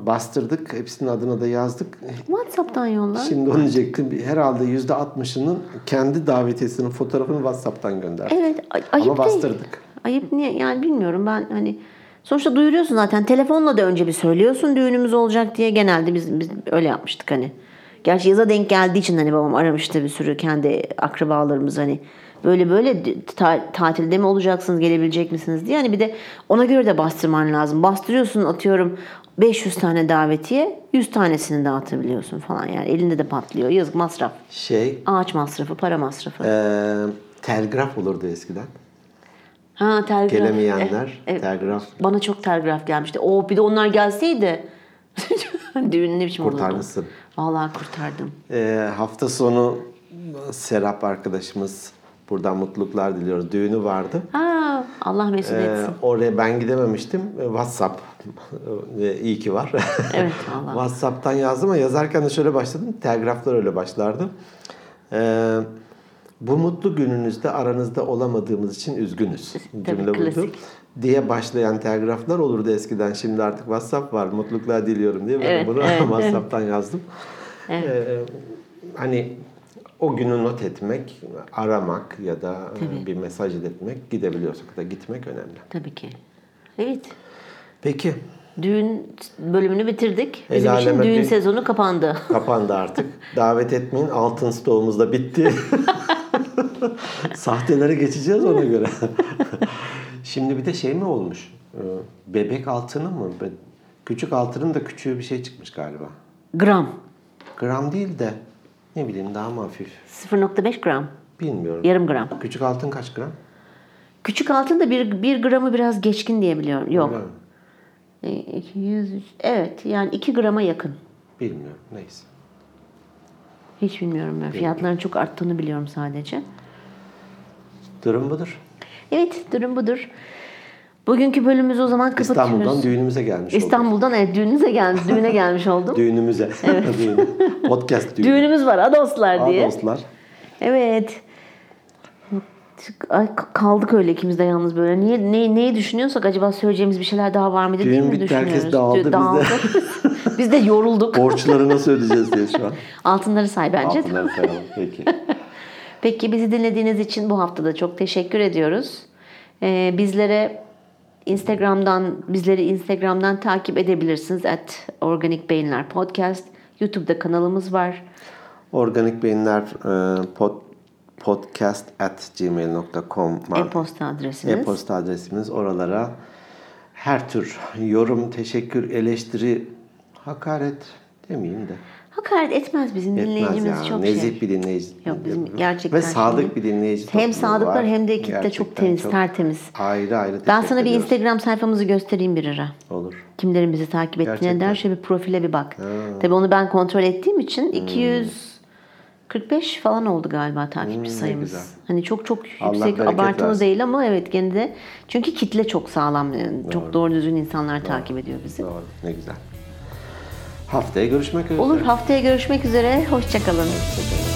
[SPEAKER 1] e, bastırdık. Hepsinin adına da yazdık.
[SPEAKER 2] WhatsApp'tan yolla.
[SPEAKER 1] Şimdi onu diyecektim. Herhalde yüzde altmışının kendi davetiyesinin fotoğrafını WhatsApp'tan gönderdik.
[SPEAKER 2] Evet, ay- ayıp
[SPEAKER 1] Ama
[SPEAKER 2] değil.
[SPEAKER 1] bastırdık.
[SPEAKER 2] Ayıp niye? Yani bilmiyorum ben hani sonuçta duyuruyorsun zaten. Telefonla da önce bir söylüyorsun düğünümüz olacak diye. Genelde biz, biz öyle yapmıştık hani. Gerçi yaza denk geldiği için hani babam aramıştı bir sürü kendi akrabalarımız hani. Böyle böyle d- ta- tatilde mi olacaksınız, gelebilecek misiniz diye. Hani bir de ona göre de bastırman lazım. Bastırıyorsun atıyorum 500 tane davetiye 100 tanesini dağıtabiliyorsun falan yani. Elinde de patlıyor. Yazık masraf.
[SPEAKER 1] Şey,
[SPEAKER 2] Ağaç masrafı, para masrafı.
[SPEAKER 1] e, telgraf olurdu eskiden.
[SPEAKER 2] ha telgraf.
[SPEAKER 1] Gelemeyenler,
[SPEAKER 2] E, e,
[SPEAKER 1] telgraf
[SPEAKER 2] Bana *laughs* çok telgraf gelmişti. Oh bir de onlar gelseydi. Düğün ne biçim olurdu?
[SPEAKER 1] Kurtarmışsın.
[SPEAKER 2] Vallahi kurtardım.
[SPEAKER 1] Ee, hafta sonu Serap arkadaşımız buradan mutluluklar diliyoruz. Düğünü vardı.
[SPEAKER 2] Ha, Allah mesut
[SPEAKER 1] Ee,
[SPEAKER 2] etsin.
[SPEAKER 1] oraya ben gidememiştim. Ee, WhatsApp. *laughs* Ee, İyi ki var. *laughs*
[SPEAKER 2] Evet, vallahi.
[SPEAKER 1] WhatsApp'tan yazdım ama yazarken de şöyle başladım. Telgraflar öyle başlardı. Ee, bu mutlu gününüzde aranızda olamadığımız için üzgünüz.
[SPEAKER 2] *laughs* Tabii,
[SPEAKER 1] Cümle buydu.
[SPEAKER 2] klasik.
[SPEAKER 1] Diye başlayan telgraflar olurdu eskiden. Şimdi artık WhatsApp var. Mutluluklar diliyorum diye. Ben
[SPEAKER 2] Evet,
[SPEAKER 1] bunu *laughs*
[SPEAKER 2] evet,
[SPEAKER 1] WhatsApp'tan yazdım. Ee, hani o günü not etmek, aramak ya da e, bir mesaj iletmek, gidebiliyorsak da gitmek önemli.
[SPEAKER 2] Tabii ki. Evet.
[SPEAKER 1] Peki
[SPEAKER 2] Düğün bölümünü bitirdik. Bizim
[SPEAKER 1] El
[SPEAKER 2] için
[SPEAKER 1] aleme
[SPEAKER 2] düğün
[SPEAKER 1] bir-
[SPEAKER 2] sezonu kapandı.
[SPEAKER 1] kapandı artık. Davet etmeyin altın stoğumuz da *laughs* bitti. Sahtelere geçeceğiz ona göre. *laughs* Şimdi bir de şey mi olmuş? Ee, Bebek altını mı? Be- Küçük altının da küçüğü bir şey çıkmış galiba.
[SPEAKER 2] Gram.
[SPEAKER 1] Gram değil de ne bileyim daha mı hafif?
[SPEAKER 2] 0.5 gram.
[SPEAKER 1] Bilmiyorum.
[SPEAKER 2] Yarım gram.
[SPEAKER 1] Küçük altın kaç gram?
[SPEAKER 2] Küçük altın da 1 bir, bir gramı biraz geçkin diye biliyorum. Yok.
[SPEAKER 1] Bilmiyorum.
[SPEAKER 2] E, 200, evet yani 2 grama yakın.
[SPEAKER 1] Bilmiyorum. Neyse.
[SPEAKER 2] Hiç bilmiyorum ben. Fiyatların çok arttığını biliyorum sadece.
[SPEAKER 1] Durum budur.
[SPEAKER 2] Evet durum budur. Bugünkü bölümümüzü o zaman kapatıyoruz.
[SPEAKER 1] İstanbul'dan düğünümüze gelmiş olduk.
[SPEAKER 2] İstanbul'dan evet düğünüze gelmiş, düğüne
[SPEAKER 1] *laughs*
[SPEAKER 2] gelmiş oldum.
[SPEAKER 1] Düğünümüze. Düğün. Podcast düğünü.
[SPEAKER 2] Düğünümüz var ha dostlar
[SPEAKER 1] Aa,
[SPEAKER 2] diye.
[SPEAKER 1] dostlar.
[SPEAKER 2] Evet. Ay, kaldık öyle ikimiz de yalnız böyle. Niye ne, neyi düşünüyorsak acaba söyleyeceğimiz bir şeyler daha var mı diye
[SPEAKER 1] Düğün
[SPEAKER 2] değil mi
[SPEAKER 1] bitti,
[SPEAKER 2] düşünüyoruz?
[SPEAKER 1] herkes dağıldı, biz de-
[SPEAKER 2] biz de. *laughs* biz de yorulduk.
[SPEAKER 1] Borçları nasıl ödeyeceğiz diye şu an.
[SPEAKER 2] Altınları say bence.
[SPEAKER 1] Altınları sayalım. *laughs* Peki.
[SPEAKER 2] Peki bizi dinlediğiniz için bu hafta da çok teşekkür ediyoruz. Ee, bizlere Instagram'dan bizleri Instagram'dan takip edebilirsiniz at Organik Beyinler Podcast. YouTube'da kanalımız var.
[SPEAKER 1] Organik Beyinler e, pod, podcast at gmail.com
[SPEAKER 2] E-posta adresimiz.
[SPEAKER 1] e-posta adresimiz. Oralara her tür yorum, teşekkür, eleştiri, hakaret demeyeyim de.
[SPEAKER 2] Hakaret etmez bizim
[SPEAKER 1] Etmez
[SPEAKER 2] dinleyicimiz
[SPEAKER 1] ya.
[SPEAKER 2] çok
[SPEAKER 1] Nezih
[SPEAKER 2] şey.
[SPEAKER 1] bir dinleyici.
[SPEAKER 2] Yok, bizim
[SPEAKER 1] Ve
[SPEAKER 2] gerçekten
[SPEAKER 1] sadık
[SPEAKER 2] şimdi-
[SPEAKER 1] bir dinleyici.
[SPEAKER 2] Hem
[SPEAKER 1] topluluğu
[SPEAKER 2] sadıklar
[SPEAKER 1] var.
[SPEAKER 2] hem de ekip de çok
[SPEAKER 1] Gerçekten
[SPEAKER 2] temiz, tertemiz.
[SPEAKER 1] Ayrı ayrı
[SPEAKER 2] Ben
[SPEAKER 1] teşekkür
[SPEAKER 2] sana bir
[SPEAKER 1] ediyoruz.
[SPEAKER 2] Instagram sayfamızı göstereyim bir ara.
[SPEAKER 1] Olur.
[SPEAKER 2] Kimlerin bizi takip ettiğine
[SPEAKER 1] Gerçekten.
[SPEAKER 2] der şöyle bir profile bir bak. Tabii onu ben kontrol ettiğim için
[SPEAKER 1] Hmm.
[SPEAKER 2] 245 falan oldu galiba takipçi sayımız.
[SPEAKER 1] Hmm, güzel.
[SPEAKER 2] Hani çok çok
[SPEAKER 1] Allah
[SPEAKER 2] yüksek
[SPEAKER 1] bereket
[SPEAKER 2] abartılı
[SPEAKER 1] versin.
[SPEAKER 2] değil ama evet gene de çünkü kitle çok sağlam. yani Çok doğru düzgün insanlar takip ediyor bizi.
[SPEAKER 1] Doğru. Ne güzel. Haftaya görüşmek üzere.
[SPEAKER 2] Olur haftaya görüşmek üzere. Hoşçakalın.
[SPEAKER 1] Hoşçakalın.